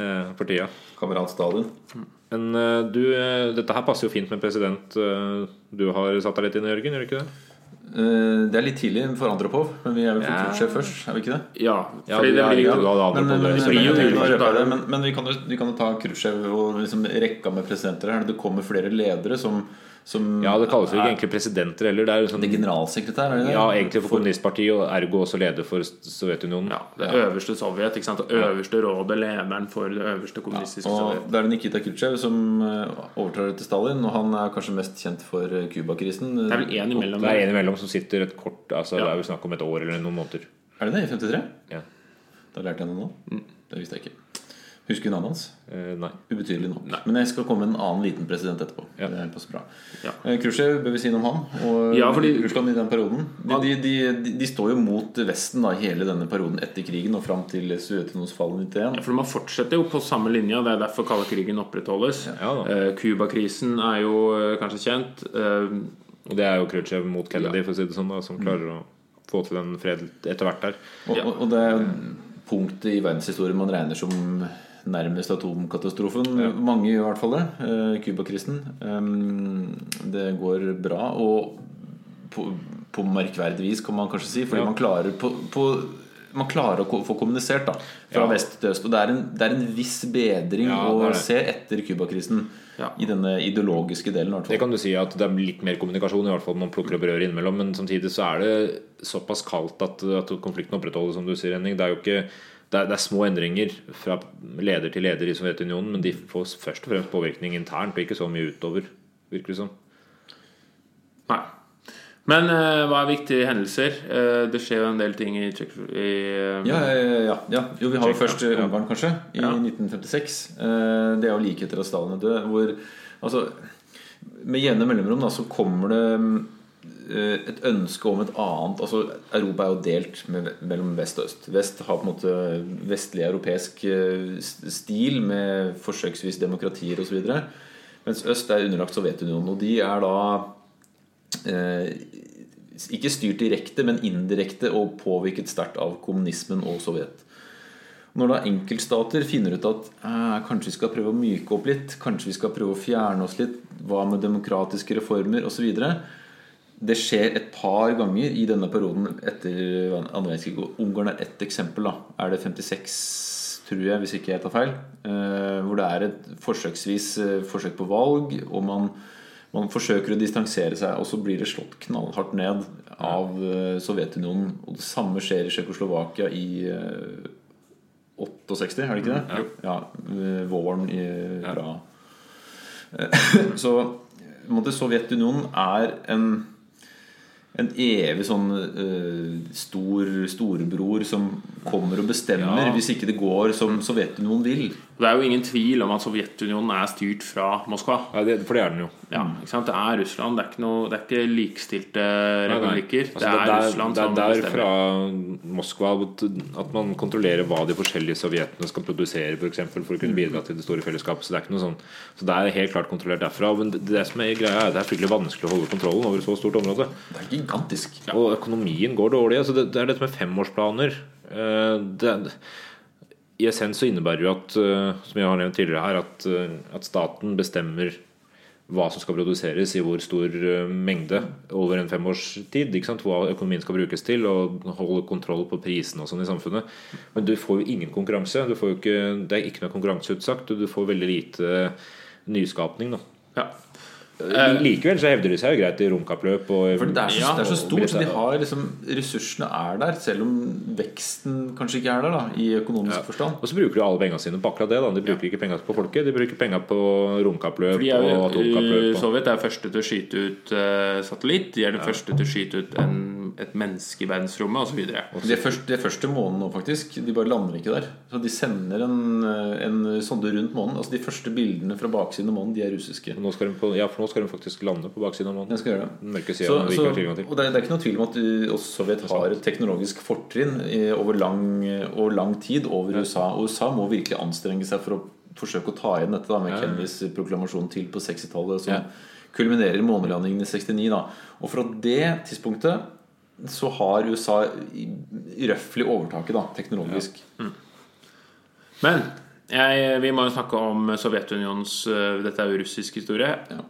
Speaker 4: eh, for tida.
Speaker 1: Kamerat Stalin.
Speaker 4: Men eh, du, eh, dette her passer jo fint med president eh, du har satt deg litt inn i, Jørgen, gjør det ikke det?
Speaker 1: Eh, Det er litt tidlig for Andropov, men vi er vel kultursjef først, er vi ikke det?
Speaker 2: Ja.
Speaker 4: Ja,
Speaker 2: Fordi
Speaker 4: du
Speaker 2: det
Speaker 4: er-
Speaker 2: blir
Speaker 4: ja,
Speaker 2: jo
Speaker 4: du hadde andre
Speaker 1: Men, men,
Speaker 4: på det,
Speaker 1: men,
Speaker 4: så
Speaker 1: men,
Speaker 4: jeg
Speaker 1: jeg
Speaker 4: tenker
Speaker 1: tenker
Speaker 4: bare-
Speaker 1: bare på det, men, men vi kan jo vi kan jo ta Khrusjtsjov og liksom rekka med presidenter her. Det kommer flere ledere som, som
Speaker 4: ja, det kalles jo ikke egentlig presidenter heller. Det er jo sånn
Speaker 1: Det er generalsekretær, er det det?
Speaker 4: Ja, egentlig for kommunistpartiet, og ergo også leder for Sovjetunionen.
Speaker 2: Eh, ja, det øverste Sovjet, ikke sant? Det øverste rådet, lederen for det øverste kommunistiske Sovjet.
Speaker 1: Og det er Nikita Khrusjtsjov som eh, overtar etter Stalin, og han er kanskje mest kjent for eh, Cuba-krisen.
Speaker 2: Det er vel én imellom.
Speaker 4: Det er en imellom som sitter et kort altså Det
Speaker 2: Ja.
Speaker 4: er jo snakk om et år eller noen måneder.
Speaker 1: Er det det? I 53?
Speaker 4: Ja.
Speaker 1: Da lærte jeg noe
Speaker 2: Mm.
Speaker 1: nå. Det visste jeg ikke. Husker du navnet hans?
Speaker 4: Eh, nei.
Speaker 1: Ubetydelig nå. Men jeg skal komme med en annen liten president etterpå.
Speaker 4: Ja.
Speaker 1: Det passer bra.
Speaker 2: Ja.
Speaker 1: Eh, Khrusjtsjov bør vi si noe om han og eh,
Speaker 2: Ja, fordi-
Speaker 1: Russland i den perioden. De, de, de, de, de står jo mot Vesten da, i hele denne perioden etter krigen og fram til Sovjetunionens fall i 91.
Speaker 2: For man fortsetter jo på samme linja, det er derfor kalde krigen opprettholdes.
Speaker 4: Ja da.
Speaker 2: Eh, Cuba-krisen er jo eh, kanskje kjent. Eh,
Speaker 4: Og det er jo Khrusjtsjov mot Kennedy, for å si det sånn, da, som klarer å få til en fred etter hvert der.
Speaker 1: Og,
Speaker 2: Ja.
Speaker 1: og, og det er jo punktet i verdenshistorien man regner som nærmest atomkatastrofen. Mange gjør i hvert fall det. Eh, Cuba-krisen. Eh, det går bra. Og på, på merkverdig vis, kan man kanskje si, fordi man klarer på, på man klarer å ko- få kommunisert da, fra
Speaker 4: Ja.
Speaker 1: vest til øst. Og det er en, det er en viss bedring
Speaker 4: Ja, det
Speaker 1: å
Speaker 4: er det.
Speaker 1: se etter Cuba-krisen.
Speaker 2: Ja.
Speaker 1: I denne ideologiske delen, i hvert
Speaker 4: Det
Speaker 1: fall.
Speaker 4: kan du si at det er litt mer kommunikasjon, i hvert fall man plukker opp røret innimellom. Men samtidig så er det såpass kaldt at, at konflikten opprettholdes, som du sier, Henning. Det er jo ikke det er, det er små endringer fra leder til leder i Sovjetunionen, men de får først og fremst påvirkning internt, og ikke så mye utover, virker det som.
Speaker 2: Nei. Men eh, hva er viktige hendelser? Eh, det skjer jo en del ting i, Tsjekk- i eh,
Speaker 1: Ja, ja, ja, ja, ja. Jo, vi har jo
Speaker 2: Tsjekkia.
Speaker 1: først eh, Ungarn, kanskje, i
Speaker 2: Ja.
Speaker 1: 1956. Eh, Det er jo like etter at Stalin er død. Hvor, altså, med jevne mellomrom da, så kommer det mm, eh, et ønske om et annet altså, Europa er jo delt med, mellom vest og øst. Vest har på en måte vestlig europeisk eh, s- stil med forsøksvis demokratier osv. Mens øst er underlagt Sovjetunionen. Og de er da eh, ikke styrt direkte, men indirekte og påvirket sterkt av kommunismen og Sovjet. Når da enkeltstater finner ut at eh, kanskje vi skal prøve å myke opp litt, kanskje vi skal prøve å fjerne oss litt, hva med demokratiske reformer osv. Det skjer et par ganger i denne perioden etter andre verdenskrig. og Ungarn er ett eksempel. da, Er det 56, tror jeg, hvis ikke jeg tar feil? eh, Hvor det er et forsøksvis eh, forsøk på valg, og man, man forsøker å distansere seg, og så blir det slått knallhardt ned av eh, Sovjetunionen. Og det samme skjer i Tsjekkoslovakia i eh, 68, er det ikke
Speaker 2: Mm,
Speaker 1: det? Ja, eh, våren i Praha. Eh, Så på en måte, Sovjetunionen er en en evig sånn eh, stor storebror som kommer og bestemmer
Speaker 2: Ja. Mm.
Speaker 1: hvis ikke det går som Sovjetunionen vil.
Speaker 2: Det er jo ingen tvil om at Sovjetunionen er styrt fra Moskva.
Speaker 4: Ja, det, for det er den jo.
Speaker 2: Ja, ikke sant? Det er Russland. Det er ikke, noe, det er ikke likestilte
Speaker 4: Nei, nei.
Speaker 2: republikker.
Speaker 4: Altså,
Speaker 2: det, er
Speaker 4: der-
Speaker 2: Russland
Speaker 4: det er
Speaker 2: som
Speaker 4: der
Speaker 2: bestemmer.
Speaker 4: fra Moskva at, at man kontrollerer hva de forskjellige sovjetene skal produsere for, eksempel, for å
Speaker 2: Mm.
Speaker 4: kunne bidra til det store fellesskapet. Så det er ikke noe sånn Så det er helt klart kontrollert derfra. Men det, det som er greia er at det er fryktelig vanskelig å holde kontrollen over et så stort område.
Speaker 1: Det er gigantisk.
Speaker 4: Og økonomien går dårlig. Altså det, det er dette med femårsplaner. Eh, Det, I essens så innebærer det jo at, eh, som jeg har nevnt tidligere her, at, eh, at staten bestemmer hva som skal produseres i hvor stor eh, mengde over en femårstid. Ikke sant? Hva økonomien skal brukes til, og holde kontroll på prisene og sånn i samfunnet. Men du får jo ingen konkurranse. Du får jo ikke, det er ikke noe konkurranseutsagt, og du får veldig lite nyskapning. Da.
Speaker 2: Ja.
Speaker 4: Likevel så hevder de seg jo greit i romkappløp og
Speaker 1: For det er så,
Speaker 2: Ja,
Speaker 1: det er så
Speaker 4: og
Speaker 1: stort, så de
Speaker 4: militær-
Speaker 1: har liksom, ressursene er der, selv om veksten kanskje ikke er der da, i økonomisk forstand.
Speaker 4: Og så bruker de alle pengene sine på akkurat det. Da. De bruker ikke pengene på folket, de bruker pengene på romkappløp
Speaker 2: De er,
Speaker 4: og
Speaker 2: jo-
Speaker 4: atomkappløp. og-
Speaker 2: Sovjet er første til å skyte ut eh, satellitt. De er den første til å skyte ut en, et menneske i verdensrommet osv.
Speaker 1: De er, først, de er først til månen nå, faktisk. De bare lander ikke der. Så de sender en, en sonde rundt månen. Altså De første bildene fra baksiden av månen, de er russiske.
Speaker 4: Og Nå skal de på, ja, for nå skal de faktisk lande på baksiden av
Speaker 1: Jeg
Speaker 4: månen.
Speaker 1: skal gjøre det.
Speaker 4: Den mørke
Speaker 1: Så,
Speaker 4: siden Mm. vi
Speaker 1: så,
Speaker 4: ikke har
Speaker 1: og det,
Speaker 4: tilgang
Speaker 1: er,
Speaker 4: til.
Speaker 1: det er ikke noe tvil om at uh, også Sovjet har et teknologisk fortrinn i- over lang, over lang tid over USA. Og USA må virkelig anstrenge seg for å forsøke å ta igjen dette da, med Kennedys proklamasjon til på 60-tallet, som
Speaker 4: Ja.
Speaker 1: kulminerer i månelandingen i 69. Da. Og fra det tidspunktet så har USA i- i røftlig overtaket da, teknologisk.
Speaker 2: Men jeg, vi må jo snakke om Sovjetunionens eh, Dette er jo russisk historie.
Speaker 1: Ja.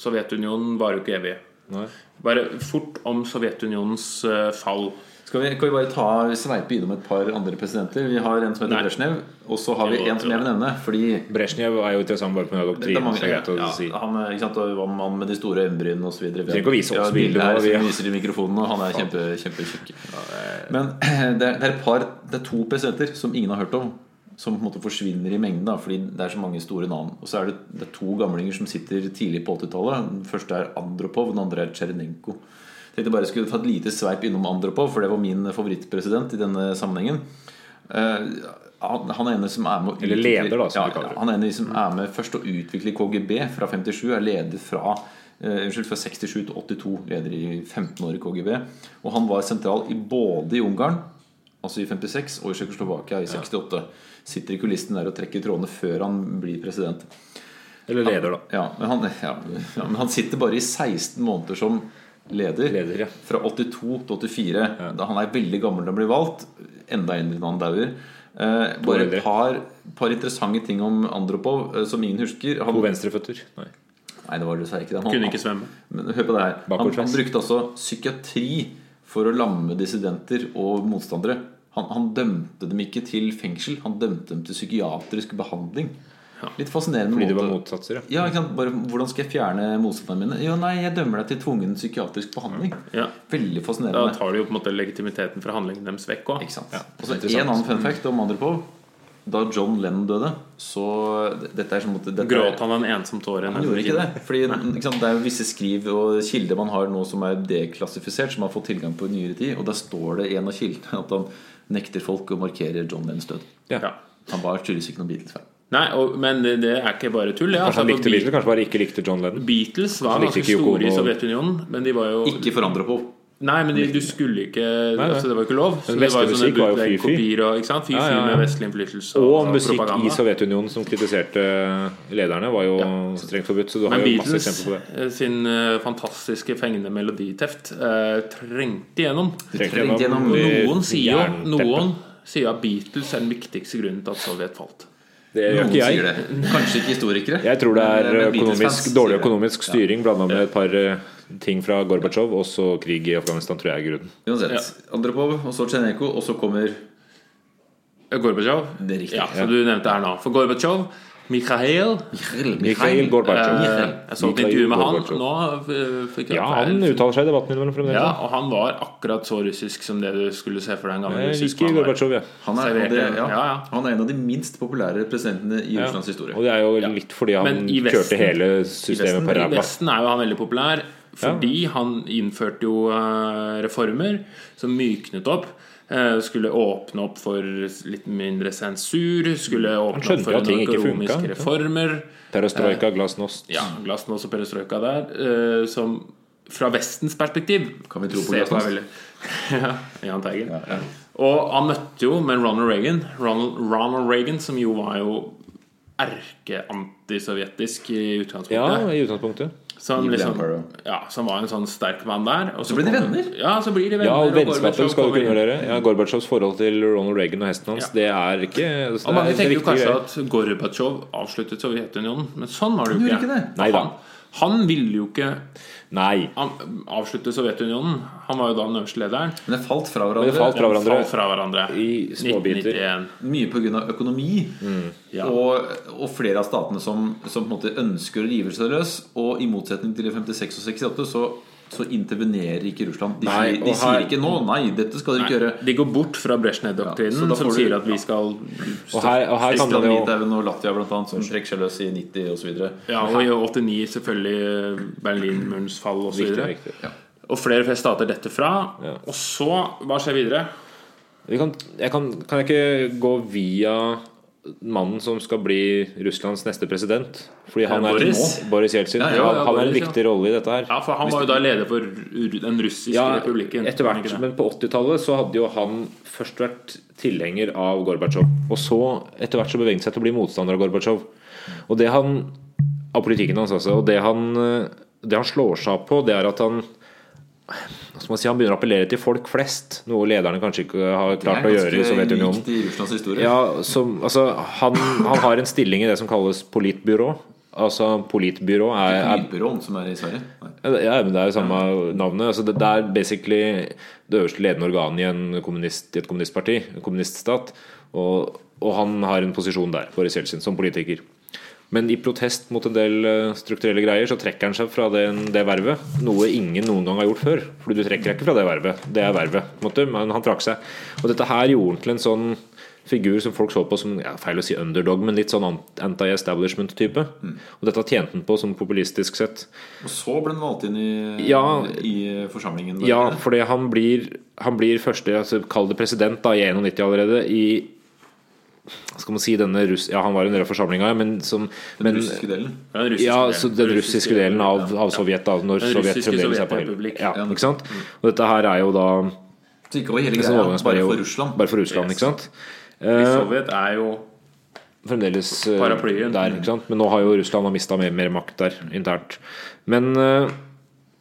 Speaker 2: Sovjetunionen varer jo ikke evig.
Speaker 4: Nei.
Speaker 2: Bare fort om Sovjetunionens eh, fall.
Speaker 1: Skal vi, kan vi bare ta, sveipe innom et par andre presidenter? Vi har en som heter
Speaker 2: Nei.
Speaker 1: Brezjnev, og så har vi
Speaker 2: Jo,
Speaker 1: en som
Speaker 2: jo.
Speaker 1: jeg vil nevne. Fordi
Speaker 4: Brezjnev er jo interessant bare pga.
Speaker 1: Det er
Speaker 4: doktrinen.
Speaker 1: mange,
Speaker 4: så det er greit å
Speaker 1: ja,
Speaker 4: si.
Speaker 1: Han er, ikke sant, og var en mann med de store øyenbrynene osv. Vi
Speaker 4: trenger ikke å vise oss bildet
Speaker 1: her
Speaker 4: nå,
Speaker 1: som
Speaker 4: vi-
Speaker 1: vi viser i mikrofonen, og han er kjempe, kjempetjukk. Men det er, det, er et par, det er to presidenter som ingen har hørt om, som på en måte forsvinner i mengden da, fordi det er så mange store navn. Og så er det, det er to gamlinger som sitter tidlig på 80-tallet. Den første er Andropov, den andre er Tsjernenko. Jeg tenkte bare jeg skulle ta et lite sveip innom Andropov, for det var min favorittpresident i denne sammenhengen. Eh, han, han er en som er med å
Speaker 4: Eller
Speaker 1: utvikle-
Speaker 4: leder, da, som
Speaker 1: ja,
Speaker 4: vi kaller det.
Speaker 1: han er en av de som er med først å utvikle KGB fra 57, er leder fra eh, Unnskyld, fra 67 til 82, leder i 15 år i KGB. Og han var sentral i både i Ungarn, altså i 56, og i Tsjekkoslovakia i 68. Sitter i kulissen der og trekker trådene før han blir president.
Speaker 4: Eller leder, da.
Speaker 1: Ja, men han, ja, ja, men han sitter bare i 16 måneder som leder.
Speaker 4: Leder, ja.
Speaker 1: Fra 82 til 84. Da han er veldig gammel da han blir valgt. Enda eldre når han dauer. Eh, bare
Speaker 4: eldre.
Speaker 1: et par, par interessante ting om Andropov eh, som ingen husker. Han,
Speaker 4: To venstreføtter. Nei.
Speaker 1: nei, det var det, sa jeg ikke det. Han,
Speaker 2: Kunne ikke svømme.
Speaker 1: men hør på det her. Han,
Speaker 4: Bakoversveis.
Speaker 1: han brukte altså psykiatri for å lamme dissidenter og motstandere. han, han dømte dem ikke til fengsel, han dømte dem til psykiatrisk behandling. Litt fascinerende
Speaker 4: Fordi de var
Speaker 1: måte.
Speaker 4: motsatser, ja.
Speaker 1: Ja, ikke sant? Bare, hvordan skal jeg fjerne motstanderne mine? Jo, nei, jeg dømmer deg til tvungen psykiatrisk behandling.
Speaker 2: Ja.
Speaker 1: Veldig
Speaker 2: Da
Speaker 1: fascinerende.
Speaker 2: tar de jo på en måte legitimiteten fra handlingen deres vekk òg.
Speaker 1: Ikke sant? Og så en annen fun fact om Andropov. Da John Lennon døde, så Dette er som at dette er-
Speaker 2: Gråt han en ensom tåre?
Speaker 1: Han gjorde ikke det. Fordi ikke sant, Det er jo visse skriv og kilder man har nå som er deklassifisert, som har fått tilgang på i nyere tid. Og der står det i en av kildene at han nekter folk å markere John Lennons død.
Speaker 2: Ja.
Speaker 1: Han var tydeligvis ikke noen Beatles-fan.
Speaker 2: Nei, og, men det det er ikke bare tull. Ja.
Speaker 4: Kanskje han
Speaker 2: Altså, Beat-
Speaker 4: likte Beatles, kanskje bare ikke likte John Lennon.
Speaker 2: Beatles var
Speaker 4: Han likte
Speaker 2: ganske
Speaker 4: ikke Yoko
Speaker 2: store i
Speaker 4: Ono.
Speaker 2: Sovjetunionen, men de var jo
Speaker 1: Ikke forandra på.
Speaker 2: Nei, men de, du skulle ikke Altså, Det var jo ikke lov. Så
Speaker 4: Men
Speaker 2: det var jo
Speaker 4: vestlig
Speaker 2: sånne
Speaker 4: musikk var jo fy-fy.
Speaker 2: bootleg-kopier og ikke sant? Fy-fy
Speaker 4: Ja, ja, ja.
Speaker 2: med vestlig innflytelse og,
Speaker 4: Og musikk i
Speaker 2: propaganda.
Speaker 4: Sovjetunionen som kritiserte lederne, var jo strengt forbudt. Så du
Speaker 2: Men
Speaker 4: har jo masse
Speaker 2: Beatles
Speaker 4: eksempler på det.
Speaker 2: eh, sin eh, fantastiske fengende meloditeft eh, trengte gjennom.
Speaker 4: Trengte
Speaker 1: trengte gjennom-
Speaker 4: de-
Speaker 2: Noen sier
Speaker 4: jernteppet.
Speaker 2: jo Noen sier at Beatles er den viktigste grunnen til at Sovjet falt.
Speaker 4: Det gjør
Speaker 1: Noen
Speaker 4: ikke jeg.
Speaker 1: sier det. Kanskje ikke historikere.
Speaker 4: Jeg
Speaker 2: eh,
Speaker 4: tror det er
Speaker 1: men- eh,
Speaker 4: eh,
Speaker 1: men Beatles-fans
Speaker 4: økonomisk,
Speaker 1: sier
Speaker 4: dårlig
Speaker 1: det.
Speaker 4: økonomisk styring blanda med et par eh, ting fra Gorbatsjov, og så krig i Afghanistan, tror jeg er grunnen.
Speaker 1: Uansett. Andropov, og så Tsjernenko, og så kommer
Speaker 2: Eh, Gorbatsjov.
Speaker 1: Det er riktig.
Speaker 2: Ja, som du nevnte her nå. For Gorbatsjov, Mikhail
Speaker 1: Mikhail,
Speaker 4: Mikhail Gorbatsjov.
Speaker 2: eh, Jeg så et
Speaker 4: Mikhail
Speaker 2: intervju med han
Speaker 4: Gorbatsjov.
Speaker 2: nå. eh, Fikk jeg
Speaker 4: Ja,
Speaker 2: feil.
Speaker 4: han uttaler seg i debatten innimellom fremdeles.
Speaker 2: ja, og han var akkurat så russisk som det du skulle se for deg en gammel
Speaker 4: Jeg
Speaker 2: russisk
Speaker 4: liker
Speaker 2: mann. var.
Speaker 4: Gorbatsjov, ja.
Speaker 1: Han er,
Speaker 2: Serverte-
Speaker 1: og det, ja,
Speaker 2: ja, ja.
Speaker 1: han er en av de minst populære presidentene i
Speaker 4: Ja.
Speaker 1: Russlands historie.
Speaker 4: Og det er jo litt fordi han
Speaker 2: Men i Vesten-
Speaker 4: kjørte hele
Speaker 1: i Vesten-
Speaker 4: systemet
Speaker 1: i
Speaker 4: på
Speaker 2: I
Speaker 4: ræva.
Speaker 2: Vesten er jo han veldig populær fordi han innførte jo eh, reformer som myknet opp. eh, Skulle åpne opp for litt mindre sensur. Skulle åpne
Speaker 4: skjønte
Speaker 2: opp for
Speaker 4: at ting
Speaker 2: en
Speaker 4: ikke
Speaker 2: økonomiske
Speaker 4: funka.
Speaker 2: reformer.
Speaker 4: Perestrojka, glasnost.
Speaker 2: Ja, Glasnost og Perestrojka der. eh, Som fra Vestens perspektiv
Speaker 1: Kan vi tro på
Speaker 2: ser
Speaker 1: glasnost?
Speaker 2: meg veldig- ja, Jahn Teigen. Og han møtte jo med Ronald Reagan. Ronald, Ronald Reagan, som jo var jo erkeantisovjetisk i utgangspunktet.
Speaker 4: Ja, i utgangspunktet.
Speaker 2: Som,
Speaker 1: Evil Empire,
Speaker 2: liksom, ja, som var en sånn sterk mann der. Og så,
Speaker 1: ble de
Speaker 2: kom-
Speaker 1: venner?
Speaker 2: Ja, så blir de venner
Speaker 4: Ja, og vennskapet
Speaker 2: Gorbatsjov
Speaker 4: skal jo
Speaker 2: kommer
Speaker 4: ikke
Speaker 2: inn.
Speaker 4: undervurdere. Ja, Gorbatsjovs forhold til Ronald Reagan og hesten hans,
Speaker 2: Ja.
Speaker 4: det er ikke altså,
Speaker 2: Og
Speaker 4: det
Speaker 2: mange
Speaker 4: er
Speaker 2: tenker jo
Speaker 4: riktige
Speaker 2: kanskje
Speaker 4: greier.
Speaker 2: at Gorbatsjov avsluttet Sovjetunionen, men sånn var det jo
Speaker 1: gjorde
Speaker 2: ikke.
Speaker 1: ikke det.
Speaker 4: Neida.
Speaker 2: Han, han ville jo ikke
Speaker 4: Nei.
Speaker 2: an- avslutte Sovjetunionen. Han var jo da den øverste lederen.
Speaker 1: Men det falt fra
Speaker 4: Men
Speaker 1: hverandre.
Speaker 4: det falt
Speaker 2: Den
Speaker 4: fra hverandre
Speaker 2: falt fra hverandre
Speaker 4: i småbiter.
Speaker 2: 1991.
Speaker 1: Mye pga. økonomi.
Speaker 4: Mm,
Speaker 2: Ja.
Speaker 1: Og, og flere av statene som, som på en måte ønsker å rive seg løs. Og i motsetning til i 56 og 68 så, så intervenerer ikke Russland. De,
Speaker 4: Nei,
Speaker 1: sier,
Speaker 4: og
Speaker 1: de
Speaker 4: her-
Speaker 1: sier ikke nå 'nei, dette skal dere ikke gjøre'.
Speaker 2: De går bort fra Brezjnev-doktrinen,
Speaker 1: Ja, så da
Speaker 2: som
Speaker 1: får du-
Speaker 2: sier at vi skal
Speaker 4: Og her, og her kan
Speaker 1: Estland,
Speaker 4: man jo Mm.
Speaker 1: Litauen og Latvia blant annet, som trekker seg løs i 90 osv.
Speaker 2: Ja, og i 89 selvfølgelig Berlinmurens fall osv.
Speaker 4: Viktig, viktig.
Speaker 2: Og flere og flere stater detter fra.
Speaker 4: Ja.
Speaker 2: Og så, hva skjer videre?
Speaker 4: Vi kan, jeg kan, kan jeg ikke gå via mannen som skal bli Russlands neste president? Fordi han
Speaker 2: Eh,
Speaker 4: er
Speaker 2: Boris?
Speaker 4: nå Boris Jeltsin.
Speaker 1: Ja, ja,
Speaker 2: ja,
Speaker 4: han er en
Speaker 2: Boris, ja.
Speaker 4: viktig rolle i dette her.
Speaker 2: Ja, for han var jo da leder for ru- den russiske
Speaker 4: Ja,
Speaker 2: republikken.
Speaker 4: etter hvert.
Speaker 2: ikke det?
Speaker 4: Men på 80-tallet så hadde jo han først vært tilhenger av Gorbatsjov. Og så etter hvert så beveget han seg til å bli motstander av Gorbatsjov. Og det han Av politikken hans, altså. Og det han, det han slår seg opp på, det er at han hva skal man si, Han begynner å appellere til folk flest, noe lederne kanskje ikke har klart å gjøre i Sovjetunionen.
Speaker 1: unikt i Russlands historie.
Speaker 4: Ja, som, altså, han, han har en stilling i det som kalles politbyrå. Altså, politbyrå er, er
Speaker 1: Politbyråen som er i Sverige. Nei.
Speaker 4: ja, men Det er jo samme navnet. Altså, det, det er basically det øverste ledende organet i, en kommunist, i et kommunistparti, en kommuniststat. Og, og han har en posisjon der, Boris Jeltsin, som politiker. Men i protest mot en del eh, strukturelle greier så trekker han seg fra den, det vervet. Noe ingen noen gang har gjort før. Fordi du trekker deg ikke fra det vervet. Det er vervet. på en måte, Men han trakk seg. Og dette her gjorde han til en sånn figur som folk så på som ja, feil å si underdog, men litt sånn ant- anti-establishment-type. Og dette tjente han på som populistisk sett.
Speaker 1: Og så ble den valgt inn i,
Speaker 4: Ja.
Speaker 1: i forsamlingen. der.
Speaker 4: Ja, fordi han blir, han blir første altså, Kall det president da, i 91 allerede I hva skal man si denne russ... Ja, han var en del av forsamlinga, men som men,
Speaker 1: Den russiske delen.
Speaker 2: Ja, den russiske
Speaker 4: ja,
Speaker 2: delen.
Speaker 4: så den russiske delen av, av Sovjet, da, når
Speaker 2: Den
Speaker 4: Sovjet
Speaker 2: russiske
Speaker 4: fremdeles er på hell.
Speaker 2: Sovjetrepublikk.
Speaker 4: Ja, ikke sant? Og dette her er jo da liksom,
Speaker 1: Så ikke over hele
Speaker 4: en sånn
Speaker 1: greia, bare
Speaker 4: overgangsperiode.
Speaker 1: for Russland.
Speaker 4: Bare for Russland, ikke sant?
Speaker 2: Ja. Sovjet er jo
Speaker 4: fremdeles eh,
Speaker 2: Paraplyen.
Speaker 4: der. Ikke sant? Men nå har jo Russland mista mer, mer makt der internt. Men eh,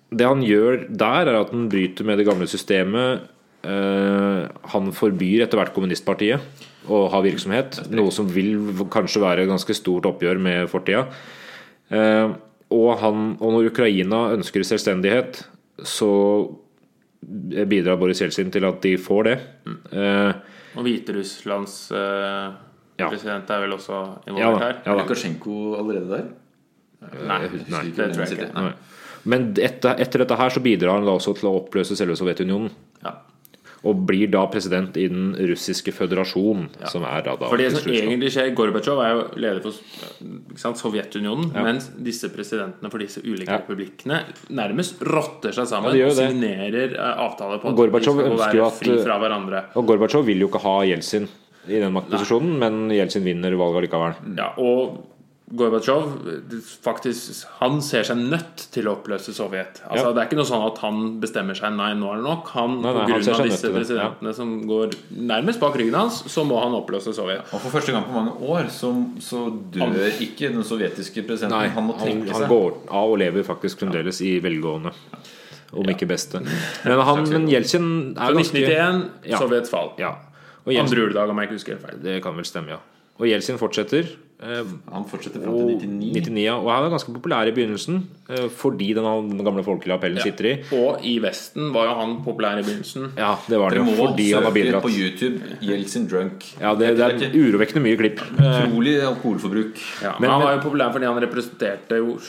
Speaker 4: det han gjør der, er at han bryter med det gamle systemet. Eh, han forbyr etter hvert kommunistpartiet å ha virksomhet. Noe som vil kanskje være et ganske stort oppgjør med fortida. Eh, og, han, og når Ukraina ønsker selvstendighet, så bidrar Boris Jeltsin til at de får det. Eh,
Speaker 2: Og Hviterusslands eh,
Speaker 4: Ja.
Speaker 2: president er vel også
Speaker 4: Ja
Speaker 2: involvert
Speaker 4: da.
Speaker 2: her?
Speaker 4: Ja, da.
Speaker 1: Lukasjenko allerede der?
Speaker 2: Nei,
Speaker 1: Jeg husker
Speaker 4: nei,
Speaker 2: det
Speaker 1: ikke hvem
Speaker 2: tror jeg
Speaker 1: sitter.
Speaker 2: ikke.
Speaker 1: Nei.
Speaker 4: Nei. Men etter, etter dette her så bidrar han da også til å oppløse selve Sovjetunionen.
Speaker 2: Ja.
Speaker 4: Og blir da president i Den russiske føderasjon, som er da, da
Speaker 2: For det sånn som
Speaker 4: Russland.
Speaker 2: egentlig skjer, Gorbatsjov er jo leder for eh, ikke sant, Sovjetunionen, mens disse presidentene for disse ulike
Speaker 4: Ja.
Speaker 2: republikkene nærmest rotter seg
Speaker 4: Ja,
Speaker 2: sammen
Speaker 4: de gjør
Speaker 2: og
Speaker 4: jo det.
Speaker 2: signerer eh, avtaler på
Speaker 4: Og Gorbatsjov
Speaker 2: de skal
Speaker 4: ønsker jo
Speaker 2: være
Speaker 4: at- eh,
Speaker 2: fri fra hverandre.
Speaker 4: Og Gorbatsjov vil jo ikke ha Jeltsin i den maktposisjonen, men Jeltsin vinner valget likevel.
Speaker 2: Ja, og Gorbatsjov faktisk, han ser seg nødt til å oppløse Sovjet. Altså,
Speaker 4: Ja.
Speaker 2: Det er ikke noe sånn at han bestemmer seg Nei, nå er det nok. Han,
Speaker 4: Nei, nei,
Speaker 2: på
Speaker 4: han
Speaker 2: grunn
Speaker 4: ser
Speaker 2: av
Speaker 4: seg nødt
Speaker 2: disse
Speaker 4: til det, ja.
Speaker 2: presidentene som går nærmest bak ryggen hans, så må han oppløse Sovjet.
Speaker 1: Og For første gang på mange år så, så dør ikke den sovjetiske presidenten.
Speaker 4: Nei,
Speaker 1: han må
Speaker 4: han,
Speaker 1: trekke
Speaker 4: han
Speaker 1: seg.
Speaker 4: går av og lever faktisk fremdeles i velgående. Om ikke beste. Men, han, men Jeltsin er
Speaker 2: Så
Speaker 4: ganske
Speaker 2: 1991,
Speaker 4: Ja.
Speaker 2: Sovjets fall.
Speaker 4: Ja. Og Jeltsin,
Speaker 2: Andre juledag, om jeg ikke husker helt feil.
Speaker 4: det kan vel stemme, ja. Og Jeltsin fortsetter. eh,
Speaker 1: Han fortsetter fram til
Speaker 4: Og
Speaker 1: 99.
Speaker 4: 99, ja. Og han er ganske populær i begynnelsen eh, fordi den, den gamle folkelige appellen sitter i.
Speaker 2: Og i Vesten var jo han populær i begynnelsen.
Speaker 4: Ja, det var det
Speaker 1: Dere
Speaker 4: jo.
Speaker 1: må
Speaker 4: Fordi han har
Speaker 1: søke
Speaker 4: bidratt.
Speaker 1: på YouTube 'Jeltsin drunk'.
Speaker 4: Ja, det, det er
Speaker 1: ikke
Speaker 4: urovekkende mye klipp.
Speaker 1: utrolig alkoholforbruk.
Speaker 2: Ja, men,
Speaker 4: Men-
Speaker 2: han var jo populær fordi han representerte jo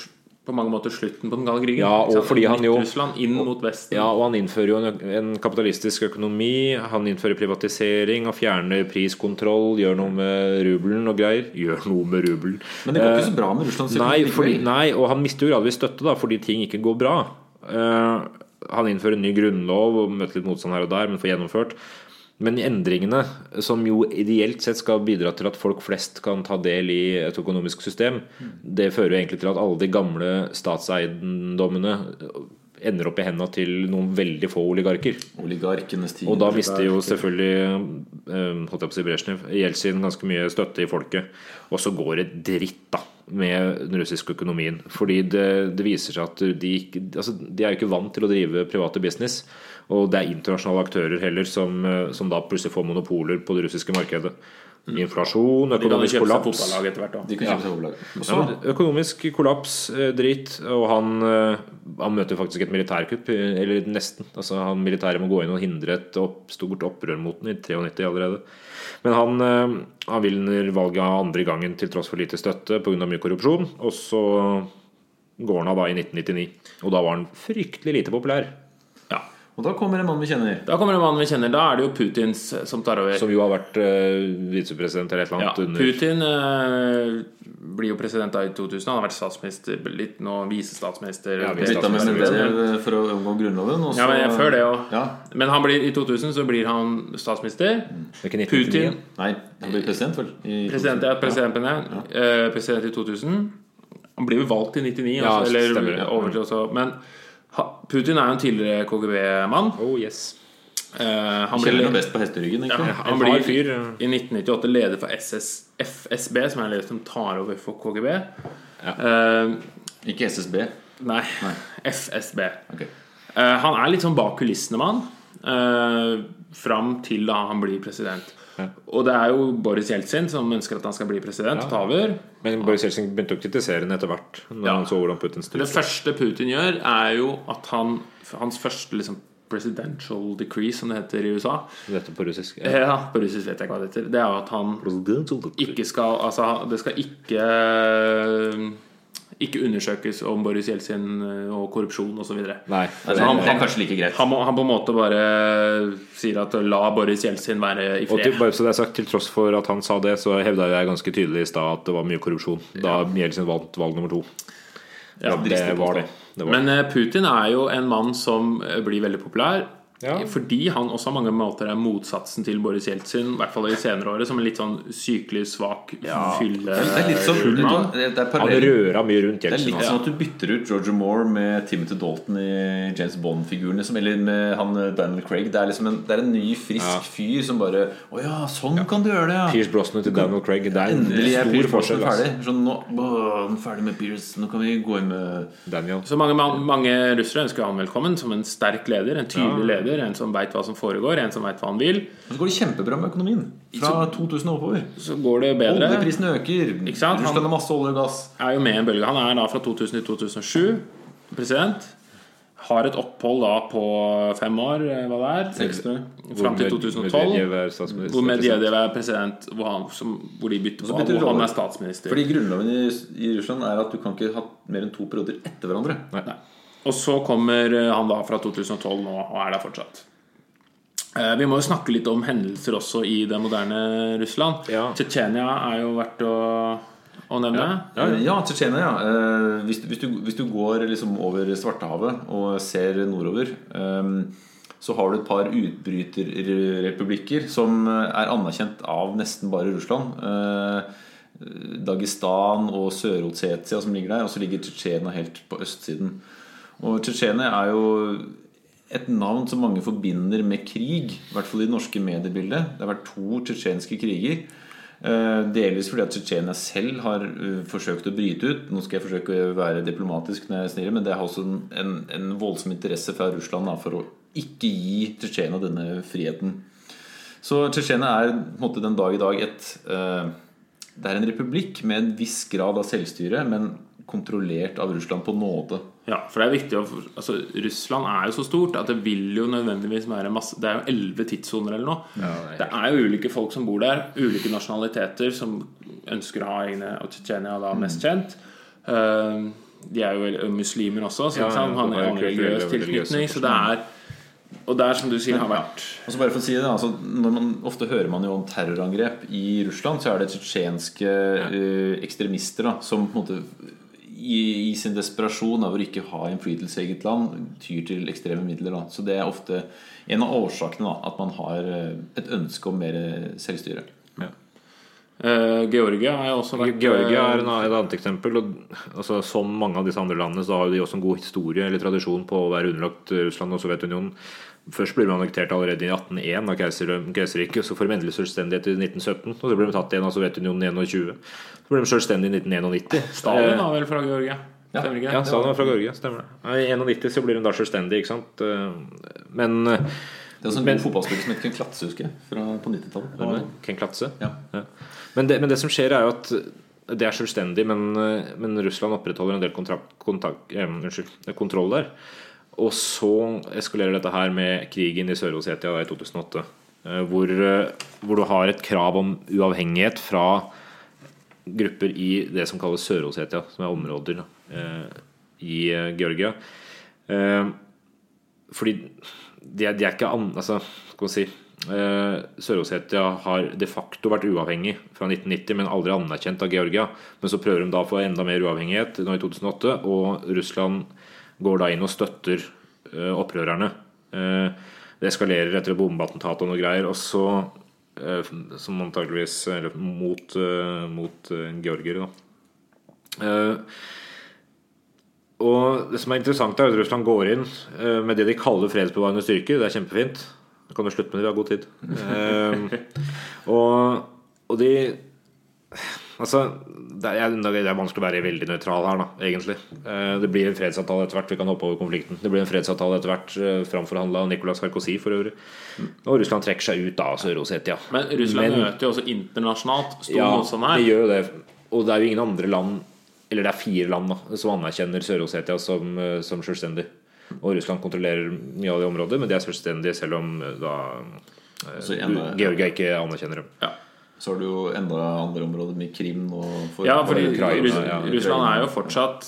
Speaker 2: på mange måter slutten på den kalde krigen.
Speaker 4: Ja, og
Speaker 2: Ikke sant?
Speaker 4: fordi han jo-
Speaker 2: Russland inn mot Vesten.
Speaker 4: Ja, og han innfører jo en, en kapitalistisk økonomi. Han innfører privatisering og fjerner priskontroll. Gjør noe med rubelen og greier. Gjør noe med rubelen.
Speaker 1: Men det går ikke så bra med Russlands
Speaker 4: Eh, Nei, fordi,
Speaker 1: økonomi sånn likevel.
Speaker 4: nei, og han mister jo gradvis støtte da fordi ting ikke går bra. Eh, han innfører en ny grunnlov og møter litt motstand her og der, men får gjennomført. Men endringene, som jo ideelt sett skal bidra til at folk flest kan ta del i et økonomisk system, det fører jo egentlig til at alle de gamle statseiendommene ender opp i hendene til noen veldig få oligarker.
Speaker 1: Oligarkenes tid.
Speaker 4: Og da mister jo selvfølgelig eh, holdt jeg på å si Brezjnev Jeltsin ganske mye støtte i folket. Og så går det dritt da med den russiske økonomien. Fordi det, det viser seg at de, ikke- altså, de er jo ikke vant til å drive private business. Og det er internasjonale aktører heller som, eh, som da plutselig får monopoler på det russiske markedet. Inflasjon,
Speaker 2: Mm. De kan jo
Speaker 4: økonomisk
Speaker 2: kjøpe seg
Speaker 4: kollaps.
Speaker 2: fotballag etter hvert også.
Speaker 1: De kan kjøpe seg overlag. Og
Speaker 4: Ja,
Speaker 1: så
Speaker 4: men økonomisk kollaps, eh, drit, og han, eh, han møter faktisk et militærkupp, eh, eller nesten. Altså han Militæret må gå inn og hindre et opp, stort opprør mot den i 93 allerede. Men han, eh, han vinner valget andre gangen til tross for lite støtte pga. mye korrupsjon. Og så går han av da i 1999, og da var han fryktelig lite populær.
Speaker 1: Og da kommer en mann vi kjenner.
Speaker 2: Da kommer det en mann vi kjenner. Da er det jo Putins som tar over.
Speaker 4: Som jo har vært eh, visepresident eller et eller
Speaker 2: ja,
Speaker 4: annet under
Speaker 2: Putin eh, blir jo president da i 2000. Han har vært statsminister, litt nå visestatsminister.
Speaker 4: Ja,
Speaker 1: Bytta med
Speaker 4: Statsminister.
Speaker 1: Medvedev for å omgå Grunnloven. Og så,
Speaker 2: Ja, men jeg- før det òg.
Speaker 1: Ja.
Speaker 2: Men han blir, i 2000 så blir han statsminister.
Speaker 4: Det er ikke 1999.
Speaker 2: Putin
Speaker 1: Nei, han blir president, vel? I
Speaker 2: president, ja, president, eh, president i 2000. Han blir jo valgt i 99,
Speaker 4: Ja,
Speaker 2: altså, eller
Speaker 4: stemmer, ja.
Speaker 2: over til også. Men ha- Putin er jo en tidligere KGB-mann.
Speaker 4: Oh yes.
Speaker 2: Eh, han
Speaker 1: Kjeller
Speaker 2: blir
Speaker 1: noe best på hesteryggen,
Speaker 2: Ja,
Speaker 1: egentlig.
Speaker 2: han
Speaker 4: hard
Speaker 2: blir
Speaker 4: fyr, eh. ja.
Speaker 2: i 1998 leder for SS, FSB, som er en leder som tar over for KGB. Eh,
Speaker 1: Ikke SSB.
Speaker 2: nei, FSB.
Speaker 1: Ok.
Speaker 2: Eh, han er litt sånn bak kulissene, mann. Uh, fram til da han blir president. Og det er jo Boris Jeltsin som ønsker at han skal bli president og ta over.
Speaker 4: Men Boris Jeltsin begynte å kritisere den etter hvert. Når
Speaker 2: Ja.
Speaker 4: han så hvordan Putin
Speaker 2: Det
Speaker 4: styrte.
Speaker 2: første Putin gjør, er jo at han Hans første liksom presidential decree, som det heter i USA
Speaker 4: Dette på russisk. Ja.
Speaker 2: Ja, på russisk vet jeg ikke hva det heter. Det er jo at han ikke skal Altså, det skal ikke Ikke undersøkes om Boris Jeltsin eh, og korrupsjon osv.
Speaker 4: Nei.
Speaker 1: Nei, det,
Speaker 2: han-
Speaker 1: er- Altså, det er kanskje like greit.
Speaker 2: Han, må- han på en måte bare sier at la Boris Jeltsin være i
Speaker 4: Og til,
Speaker 2: fred.
Speaker 4: bare så det er sagt, til tross for at han sa det, så hevda jeg ganske tydelig i stad at det var mye korrupsjon da Jeltsin vant valg nummer to.
Speaker 2: Ja,
Speaker 4: det
Speaker 1: dristig
Speaker 4: var det.
Speaker 1: påstand.
Speaker 4: det var.
Speaker 2: Men eh, Putin er jo en mann som eh, blir veldig populær.
Speaker 4: Ja.
Speaker 2: Fordi han også på mange måter er motsatsen til Boris Jeltsin, i hvert fall i senere året, som en litt sånn sykelig svak fylle...
Speaker 1: Det er litt sånn- som
Speaker 2: full mann.
Speaker 1: Det er
Speaker 4: han
Speaker 1: parallell.
Speaker 4: røra mye rundt
Speaker 1: Det er
Speaker 4: Jeltsin.
Speaker 1: litt
Speaker 4: altså.
Speaker 1: sånn at du bytter ut Roger Moore med Timothy Dalton i James Bond-figuren. Liksom, eller med han eh, Daniel Craig. Det er, liksom en, det er en ny, frisk
Speaker 4: Ja.
Speaker 1: fyr som bare Å ja, sånn kan du gjøre det, ja!
Speaker 4: Pierce Brosnan til Daniel Craig. Det er en
Speaker 1: Endelig er
Speaker 4: stor
Speaker 1: Pierce Brosnan
Speaker 4: forskjell.
Speaker 1: ferdig.
Speaker 4: Altså.
Speaker 1: Sånn, nå, «Åh, nå er vi ferdig med Pierce, nå kan vi gå inn med
Speaker 4: Daniel.
Speaker 2: Så mange, mange russere ønsker han velkommen som en sterk leder, en tydelig leder, en som veit hva som foregår, en som veit hva han vil.
Speaker 1: Og så går det kjempebra med økonomien. Fra 2000 og oppover.
Speaker 2: Så går det bedre.
Speaker 1: Oljeprisen øker.
Speaker 2: sant? Han-
Speaker 1: Russland har masse olje og gass.
Speaker 2: Er jo med i en bølge. Han er da fra 2000 til 2007 president. har et opphold da på fem år, eh, hva det er, seks fram til 2012.
Speaker 4: Medvedev er statsminister.
Speaker 2: Hvor Medvedev er president, hvor, han, som, hvor de bytter
Speaker 1: Så
Speaker 2: på
Speaker 1: bytter de
Speaker 2: hvor han
Speaker 1: roller.
Speaker 2: er statsminister.
Speaker 1: Fordi grunnloven i, i Russland er at du kan ikke ha mer enn to perioder etter hverandre.
Speaker 4: Nei.
Speaker 2: Og så kommer eh, han da fra 2012 nå, og er der fortsatt. Eh, Vi må jo snakke litt om hendelser også i det moderne Russland.
Speaker 4: Ja.
Speaker 2: Tsjetsjenia er jo verdt å, å nevne.
Speaker 1: Ja, ja Tsjetsjenia. Ja. Eh, hvis, du- hvis, du- hvis du går liksom over Svartehavet og ser nordover, eh, så har du et par utbryterrepublikker som er anerkjent av nesten bare Russland. Eh, Dagestan og Sør-Osetia som ligger der, og så ligger Tsjetsjenia helt på østsiden. Og Tsjetsjenia er jo et navn som mange forbinder med krig, i hvert fall i det norske mediebildet. Det har vært to tsjetsjenske kriger. Eh, Delvis fordi at Tsjetsjenia selv har eh, forsøkt å bryte ut. Nå skal jeg forsøke å være diplomatisk, når jeg snirer, men det har også en, en, en voldsom interesse fra Russland da, for å ikke gi Tsjetsjenia denne friheten. Så Tsjetsjenia er på en måte, den dag i dag et eh, Det er en republikk med en viss grad av selvstyre, men kontrollert av Russland på nåde.
Speaker 2: Ja, for det er viktig å, altså, Russland er jo så stort at det vil jo nødvendigvis være masse Det er jo elleve tidssoner eller noe.
Speaker 4: det
Speaker 2: det er jo ulike folk som bor der. Ulike nasjonaliteter som ønsker å ha egne Og Tsjetsjenia
Speaker 4: Mm.
Speaker 2: er da mest kjent. Eh, de er jo vel- muslimer også, så
Speaker 4: Ja,
Speaker 2: ikke sant?
Speaker 4: ja,
Speaker 2: han
Speaker 4: det
Speaker 2: har en
Speaker 4: er jo
Speaker 2: religiøs
Speaker 4: kulturell-
Speaker 2: tilknytning.
Speaker 4: religiøs
Speaker 2: Så det er Og det er som du sier, har vært
Speaker 1: Og så bare for å si det, altså, når man, Ofte hører man jo om terrorangrep i Russland. Så er det tsjetsjenske eh, ekstremister da, som på en måte i, i sin desperasjon over ikke å ha innflytelse i eget land, tyr til ekstreme midler. Da. Så det er ofte en av årsakene da, at man har eh, et ønske om mer eh, selvstyre.
Speaker 2: eh, Georgia har jo også vært eh,
Speaker 4: Georgia er en, et annet eksempel. Og, altså, som mange av disse andre landene så har jo de også en god historie eller tradisjon på å være underlagt Russland og Sovjetunionen. Først ble de annektert allerede i 1801 av Keiser- Keiserriket, og så formendelig selvstendighet i 1917. Og så ble de tatt igjen av Sovjetunionen i 21. Så ble de selvstendige i 1991.
Speaker 2: Stalin
Speaker 4: Eh,
Speaker 2: var vel fra Georgia?
Speaker 1: Ja.
Speaker 2: Stemmer ikke
Speaker 4: ja,
Speaker 2: det?
Speaker 4: Stalin var fra Georgia, stemmer det. Ja, I 91 så blir hun da selvstendig, ikke sant. Eh, Men eh,
Speaker 1: Det er også en god fotballspiller som het Ken Klatse, husker jeg, fra, på 90-tallet.
Speaker 4: Ken Klatse.
Speaker 1: Ja.
Speaker 4: Ja. Men, det, men det som skjer, er jo at eh, det er selvstendig, men, eh, men Russland opprettholder en del kontrakt, kontak- eh, unnskyld, kontroll der. Og så eskalerer dette her med krigen i Sør-Osetia da i 2008. eh, Hvor, eh, hvor du har et krav om uavhengighet fra grupper i det som kalles Sør-Osetia, som er områder da, eh, i eh, Georgia. Eh, fordi de er, de er ikke an, altså, skal man si eh, Sør-Osetia har de facto vært uavhengig fra 1990, men aldri anerkjent av Georgia. Men så prøver de da å få enda mer uavhengighet nå i 2008, og Russland går da inn og støtter eh, opprørerne. Eh, det eskalerer etter et bombeattentat og noe greier. Og så eh, Som antakeligvis Eller mot, eh, mot eh, georgiere, da. Eh, og det som er interessant er at Russland går inn eh, med det de kaller fredsbevarende styrker. Det er kjempefint. Da kan du slutte med det, vi har god tid. Eh, og, og de Altså, det er, det er vanskelig å være veldig nøytral her, da, egentlig. Eh, det blir en fredsavtale etter hvert. Vi kan hoppe over konflikten. Det blir en fredsavtale etter hvert, uh, framforhandla av Nicolas Sarkozy for øvrig. Og Russland trekker seg ut av Sør-Osetia.
Speaker 2: Men Russland
Speaker 4: Men-
Speaker 2: møter jo også internasjonalt stor
Speaker 4: Ja,
Speaker 2: motstand her.
Speaker 4: det gjør jo det. Og det er jo ingen andre land, eller det er fire land, da, som anerkjenner Sør-Osetia som, eh, som selvstendig. Og Russland kontrollerer mye av det området, men de er selvstendige selv om eh, da eh,
Speaker 1: Så ene-
Speaker 4: Georgia ikke anerkjenner dem.
Speaker 1: Så har du jo enda andre områder med Krim og for,
Speaker 2: Ja, fordi
Speaker 4: Ukraina,
Speaker 2: Russ
Speaker 4: ja.
Speaker 2: Russland er jo fortsatt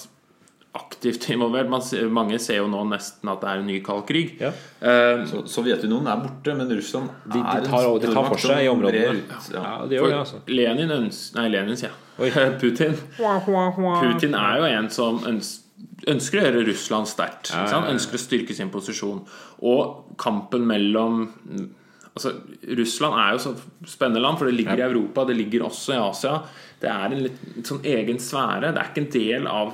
Speaker 2: aktivt involvert. Man ser, mange ser jo nå nesten at det er en ny kald krig.
Speaker 4: Ja.
Speaker 2: Eh,
Speaker 1: Så Sovjetunionen er borte, men Russland
Speaker 4: De,
Speaker 1: er en
Speaker 4: de, tar, de tar
Speaker 1: stormakt
Speaker 4: for seg i
Speaker 1: som brer
Speaker 4: områdene.
Speaker 1: ut,
Speaker 4: Ja,
Speaker 1: ja.
Speaker 4: de
Speaker 2: for
Speaker 4: gjør det, altså.
Speaker 2: Lenin ønsker Nei, Lenin, sier
Speaker 4: Oi.
Speaker 2: jeg. Putin. Putin er jo en som øns- ønsker å gjøre Russland sterkt. ikke sant? Ønsker å styrke sin posisjon. Og kampen mellom Altså, Russland er jo så spennende land, for det ligger i Europa, det ligger også i Asia. Det er en litt, litt sånn egen sfære. Det er ikke en del av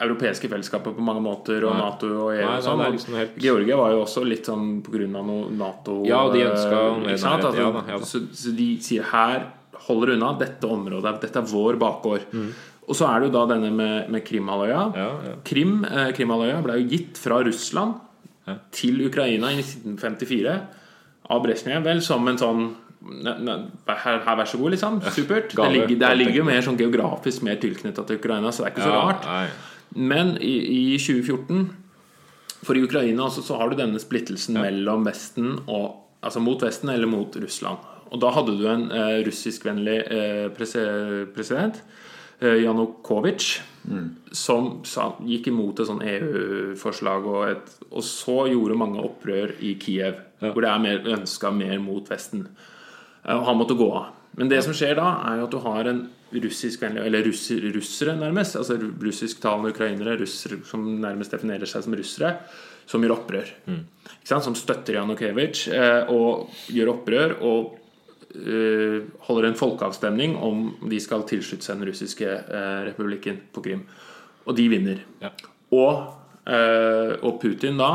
Speaker 2: europeiske fellesskapet på mange måter, og Nato og EU
Speaker 4: Nei, nei,
Speaker 2: og sånn.
Speaker 4: det er liksom helt-
Speaker 2: Georgia var jo også litt sånn på grunn av noe Nato
Speaker 4: Ja, de ønsket
Speaker 2: eh,
Speaker 4: mer
Speaker 2: ikke sant?
Speaker 4: nærhet,
Speaker 2: Altså,
Speaker 4: ja da, ja da.
Speaker 2: Så, så de sier her holder dere unna dette området. Dette er vår bakgård. Og så er det jo da denne med, med Krimhalvøya.
Speaker 4: Mm. Ja, ja.
Speaker 2: Krim, eh, Krimhalvøya ble jo gitt fra Russland til Ukraina i 1954 av Brezjnev, vel, som en sånn ne- ne- her, her, vær så god, liksom. Supert.
Speaker 4: Gave.
Speaker 2: Det ligger, der ligger jo mer sånn geografisk mer tilknytta til Ukraina, så det er ikke så rart.
Speaker 4: Nei.
Speaker 2: Men i, i 2014 For i Ukraina også, så har du denne splittelsen mellom Vesten og Altså mot Vesten eller mot Russland. Og da hadde du en eh, russiskvennlig eh, prese- president, eh, Janukovitsj, som sa, gikk imot et sånn EU-forslag, og, et- og så gjorde mange opprør i Kiev, hvor det er mer ønska mer mot Vesten. Eh, Og han måtte gå av. Men det som skjer da, er jo at du har en russiskvennlig Eller russer, russere, nærmest. Altså russisktalende ukrainere, russere som nærmest definerer seg som russere, som gjør opprør. Ikke sant? Som støtter Janukevitsj eh, og gjør opprør og eh, holder en folkeavstemning om de skal tilslutte seg den russiske eh, republikken på Krim. Og de vinner.
Speaker 4: Ja.
Speaker 2: Og, eh, og Putin da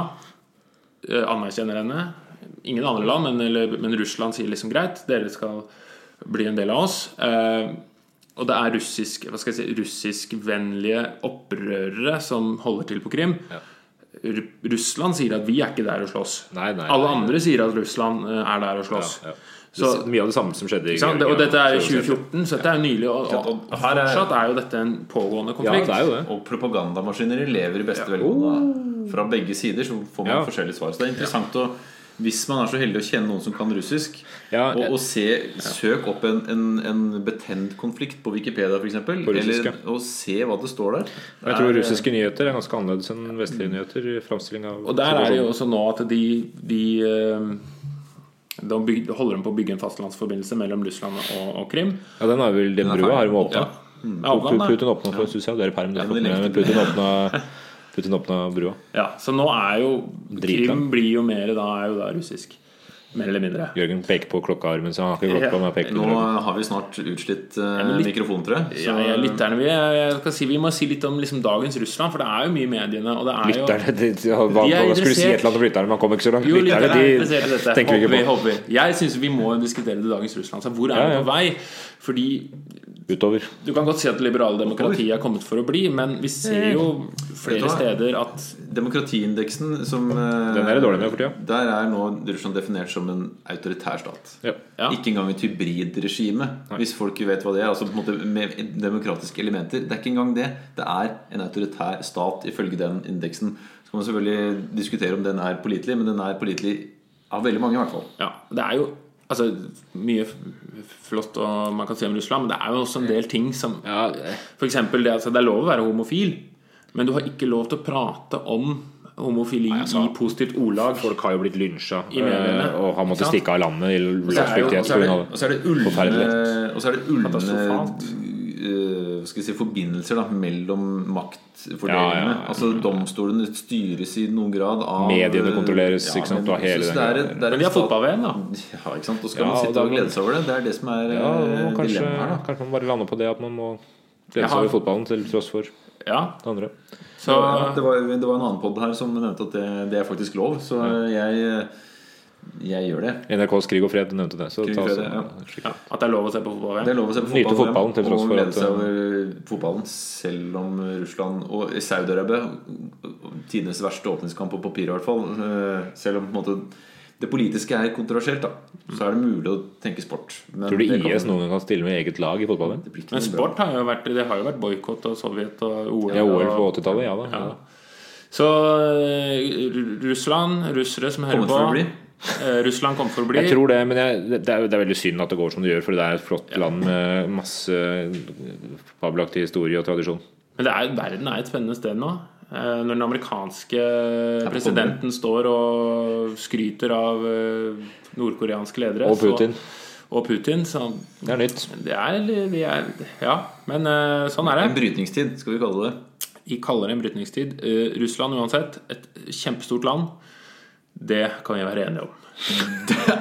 Speaker 2: eh, anerkjenner henne. Ingen andre land, men, eller, men Russland sier liksom greit, dere skal bli en del av oss. Eh, og det er russisk, hva skal jeg si, russiskvennlige opprørere som holder til på Krim. Ru- Russland sier at vi er ikke der og slåss.
Speaker 4: Nei, nei,
Speaker 2: Alle
Speaker 4: nei.
Speaker 2: andre sier at Russland eh, er der og slåss.
Speaker 4: Ja, ja.
Speaker 2: Så,
Speaker 4: Det er mye av det samme som skjedde i
Speaker 2: ikke sant? Det- Og
Speaker 4: Georgia,
Speaker 2: dette er jo
Speaker 4: så-
Speaker 2: 2014, så dette er jo nylig. Og, og, og
Speaker 1: Her er-
Speaker 2: fortsatt er jo dette en pågående
Speaker 4: Ja,
Speaker 2: konflikt.
Speaker 4: det er jo det.
Speaker 1: Og propagandamaskineri lever i beste
Speaker 4: Oh.
Speaker 1: velgående. Fra begge sider så får man
Speaker 4: Ja.
Speaker 1: forskjellige svar. Så det er interessant å hvis man er så heldig å kjenne noen som kan russisk,
Speaker 4: Ja,
Speaker 1: og, og se, søk opp en, en, en betent konflikt på Wikipedia f.eks.,
Speaker 4: På russisk,
Speaker 1: eller og se hva det står der. Eh,
Speaker 4: Jeg tror russiske nyheter er ganske annerledes enn vestlige nyheter. i Fremstilling av
Speaker 2: Og der er det jo
Speaker 4: situasjonen.
Speaker 2: også nå at de, de eh, da byg- holder de på å bygge en fastlandsforbindelse mellom Russland og, og Krim.
Speaker 4: Ja, den er vel den
Speaker 1: er
Speaker 4: brua
Speaker 1: ferdig.
Speaker 4: har de åpna.
Speaker 2: Ja. Ja, og
Speaker 4: Putin,
Speaker 2: den er-
Speaker 4: Putin åpna for Susia, det er i perm. du har
Speaker 1: Ja,
Speaker 4: fått
Speaker 1: men det
Speaker 4: med, men
Speaker 1: likte
Speaker 4: Putin åpna Putin åpna brua.
Speaker 2: ja, så nå er jo Krim
Speaker 4: Dritland.
Speaker 2: blir jo mer da, er jo da russisk. Mer eller mindre.
Speaker 4: Jørgen peker på klokkearmen, så han har ikke klokka. Men han peker på
Speaker 1: Nå
Speaker 4: klokka.
Speaker 1: har vi snart utslitt eh,
Speaker 2: men litt-
Speaker 1: mikrofontre.
Speaker 2: Ja, ja, lytterne vi, jeg skal si, vi må si litt om liksom, dagens Russland, for det er jo mye i mediene. Og det er jo,
Speaker 4: Lytterne de, de, hva- hva skulle si et eller annet om lytterne, men han kom ikke så langt.
Speaker 2: Jo, lytterne er
Speaker 4: Lytterne
Speaker 2: interessert i
Speaker 4: de
Speaker 2: dette.
Speaker 4: tenker vi
Speaker 2: Håper vi,
Speaker 4: ikke
Speaker 2: håper vi. Jeg syns vi må diskutere det dagens Russland. Så hvor er
Speaker 4: Ja,
Speaker 2: vi
Speaker 4: ja.
Speaker 2: på vei? Fordi
Speaker 4: på utover.
Speaker 2: Du kan godt si at det liberale demokratiet er kommet for å bli, men vi ser jo flere steder at
Speaker 1: Demokratiindeksen som eh,
Speaker 4: Den er det dårlig med for tida.
Speaker 1: Der er nå Russland definert som en autoritær stat.
Speaker 4: Ja.
Speaker 2: Ja.
Speaker 1: Ikke engang et hybridregime, hvis folk vet hva det er. Altså på en måte med demokratiske elementer. Det er ikke engang det. Det er en autoritær stat ifølge den indeksen. Så kan man selvfølgelig diskutere om den er pålitelig, men den er pålitelig av veldig mange, i hvert fall.
Speaker 2: ja, Det er jo altså, mye f- flott og man kan si om Russland, men det er jo også en del ting som F.eks. det altså, det er lov å være homofil, men du har ikke lov til å prate om homofili i positivt ordlag.
Speaker 4: Folk har jo blitt lynsja
Speaker 2: I mediene.
Speaker 4: eh, og har måttet
Speaker 2: Ikke sant?
Speaker 4: stikke av landet
Speaker 2: er
Speaker 4: i
Speaker 2: det jo- og
Speaker 4: løsbygdighet
Speaker 1: Og så er det,
Speaker 4: pga.
Speaker 1: og så er det
Speaker 4: Forferdelig
Speaker 1: ulne,
Speaker 4: lett.
Speaker 1: og så er det ulne
Speaker 2: Katastrofalt.
Speaker 1: øh, skal vi si, forbindelser da, mellom maktfordelingene.
Speaker 4: Ja, ja, ja.
Speaker 1: Altså Domstolene styres i noen grad av
Speaker 4: Mediene kontrolleres, ikke sant,
Speaker 1: men-
Speaker 4: av hele
Speaker 1: så
Speaker 4: den
Speaker 1: det
Speaker 4: greia.
Speaker 1: er, det er
Speaker 2: Men de har
Speaker 1: en stat-
Speaker 2: fotball-VM, da.
Speaker 1: Ja, ikke sant? Og skal
Speaker 4: Ja,
Speaker 1: man
Speaker 4: og da
Speaker 1: sitte og
Speaker 4: må-
Speaker 1: glede seg over det? Det er det som er
Speaker 4: Ja,
Speaker 1: øh,
Speaker 4: og kanskje,
Speaker 1: dilemmaet her. da
Speaker 4: kanskje man bare lander på det at man må
Speaker 2: Jeg
Speaker 4: glede seg
Speaker 2: har-
Speaker 4: over fotballen til tross for det
Speaker 2: Ja,
Speaker 4: andre.
Speaker 2: så
Speaker 1: Ja, det, var, det var en annen podd her som nevnte at det, det er faktisk lov, så eh, jeg, jeg gjør det.
Speaker 4: NRKs Krig og fred nevnte det. Så
Speaker 1: Krig
Speaker 4: ta
Speaker 1: og
Speaker 4: oss-
Speaker 1: fred, ja.
Speaker 2: ja, At det er lov å se på
Speaker 1: Det
Speaker 2: fotball-VM.
Speaker 1: er lov å se på
Speaker 4: Nyte
Speaker 1: fotball,
Speaker 4: fotballen til tross
Speaker 1: og
Speaker 4: for at-
Speaker 1: glede
Speaker 4: eh,
Speaker 1: seg over fotballen, selv om Russland og Saudi-Arabia Tidenes verste åpningskamp på papir, i hvert fall. eh, Selv om på en måte, det politiske er kontroversielt, da. Så er det mulig å tenke sport. Men
Speaker 4: Tror du
Speaker 1: det kan-
Speaker 4: IS noen gang kan stille med eget lag i fotball?
Speaker 1: det blir ikke
Speaker 2: Men
Speaker 1: noe bra.
Speaker 2: sport har jo vært Det har jo vært boikott av Sovjet og OL.
Speaker 4: Ja, OL på
Speaker 2: og-
Speaker 4: 80-tallet, ja da. Ja.
Speaker 2: Ja. Så eh, Ru- Russland, russere som hører
Speaker 1: Kommer for å bli.
Speaker 2: på eh, Russland kommer for å bli.
Speaker 4: Jeg tror det, men jeg, det, er, jo- det er veldig synd at det går som det gjør, for det er et flott land med masse eh, fabelaktig historie og tradisjon.
Speaker 2: Men det er, verden er et spennende sted nå. Eh, Når den amerikanske presidenten står og skryter av eh, nordkoreanske ledere
Speaker 4: Og Putin.
Speaker 2: Så, og Putin, så
Speaker 4: Det er nytt.
Speaker 2: det er, vi er Ja, men eh, sånn er det.
Speaker 1: En brytningstid, skal vi kalle det.
Speaker 2: Vi kaller det en brytningstid. Eh, Russland uansett, et kjempestort land. Det kan vi være enige om.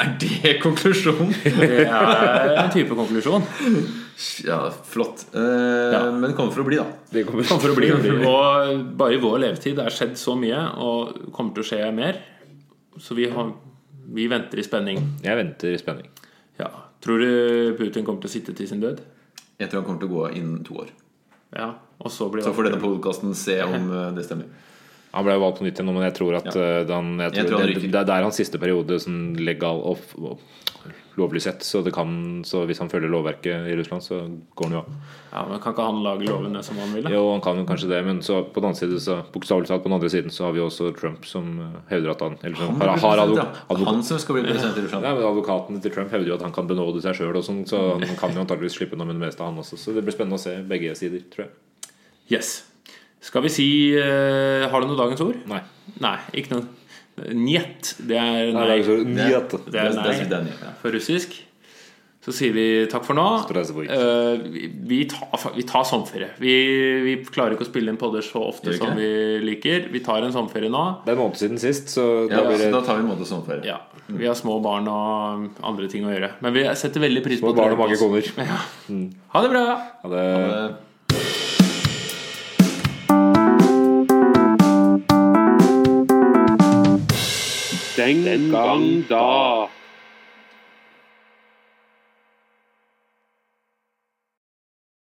Speaker 1: Er det konklusjonen?
Speaker 2: Det er en type konklusjon.
Speaker 1: Ja, flott. Eh,
Speaker 2: Ja.
Speaker 1: Men det kommer for å bli, da.
Speaker 4: Det kommer
Speaker 2: Kommer for å bli. Og bare i vår levetid det er skjedd så mye, og kommer til å skje mer. Så vi, har, vi venter i spenning.
Speaker 4: Jeg venter i spenning.
Speaker 2: Ja. Tror du Putin kommer til å sitte til sin død?
Speaker 1: Jeg tror han kommer til å gå av innen to år.
Speaker 2: Ja. Og så blir
Speaker 1: Så
Speaker 2: det
Speaker 1: får denne podkasten se om eh, det stemmer.
Speaker 4: Han ble jo valgt på nytt igjen nå, men jeg tror at eh, han, jeg tror
Speaker 1: tror han
Speaker 4: det,
Speaker 1: ryker.
Speaker 4: det er der hans siste periode sånn legal off, off, lovlig sett. Så, det kan, så hvis han følger lovverket i Russland, så går han jo av.
Speaker 2: Ja, men Kan ikke han lage lovene som han vil? da?
Speaker 4: Jo, han kan jo kanskje det, men så på den andre siden, så, bokstavelig talt på den andre siden så har vi også Trump som eh, hevder at han Eller som
Speaker 1: Han,
Speaker 4: har, har advok,
Speaker 1: ja. han som skal bli president i Russland.
Speaker 4: Nei, men Advokaten til Trump hevder jo at han kan benåde seg sjøl, så han kan jo antakeligvis slippe unna med det meste, han også. Så det blir spennende å se begge sider, tror jeg.
Speaker 2: Yes. Skal vi si eh, Har du noe dagens ord?
Speaker 4: Nei.
Speaker 2: Nei, ikke noe. Njet. Det er nei.
Speaker 1: Det,
Speaker 2: Det er nei.
Speaker 1: det, det er nei. Ja.
Speaker 2: på russisk. Så sier vi takk for nå.
Speaker 4: Strasbourg.
Speaker 2: Eh, vi- vi, tar, vi tar sommerferie. Vi, vi klarer ikke å spille inn podder så ofte
Speaker 1: Gjør vi ikke
Speaker 2: som vi liker. Vi tar en sommerferie nå.
Speaker 4: Det er en måned siden sist, så
Speaker 1: Ja,
Speaker 4: da blir
Speaker 1: så
Speaker 4: det
Speaker 1: da tar vi en måte sommerferie.
Speaker 2: Ja, Vi har små barn og andre ting å gjøre. Men vi setter veldig pris på
Speaker 4: små
Speaker 2: at
Speaker 4: barn
Speaker 2: dere
Speaker 4: og mange
Speaker 2: hører på oss.
Speaker 4: koner.
Speaker 2: Ha det bra!
Speaker 4: Ja, det,
Speaker 1: Eh,
Speaker 3: Den gang da.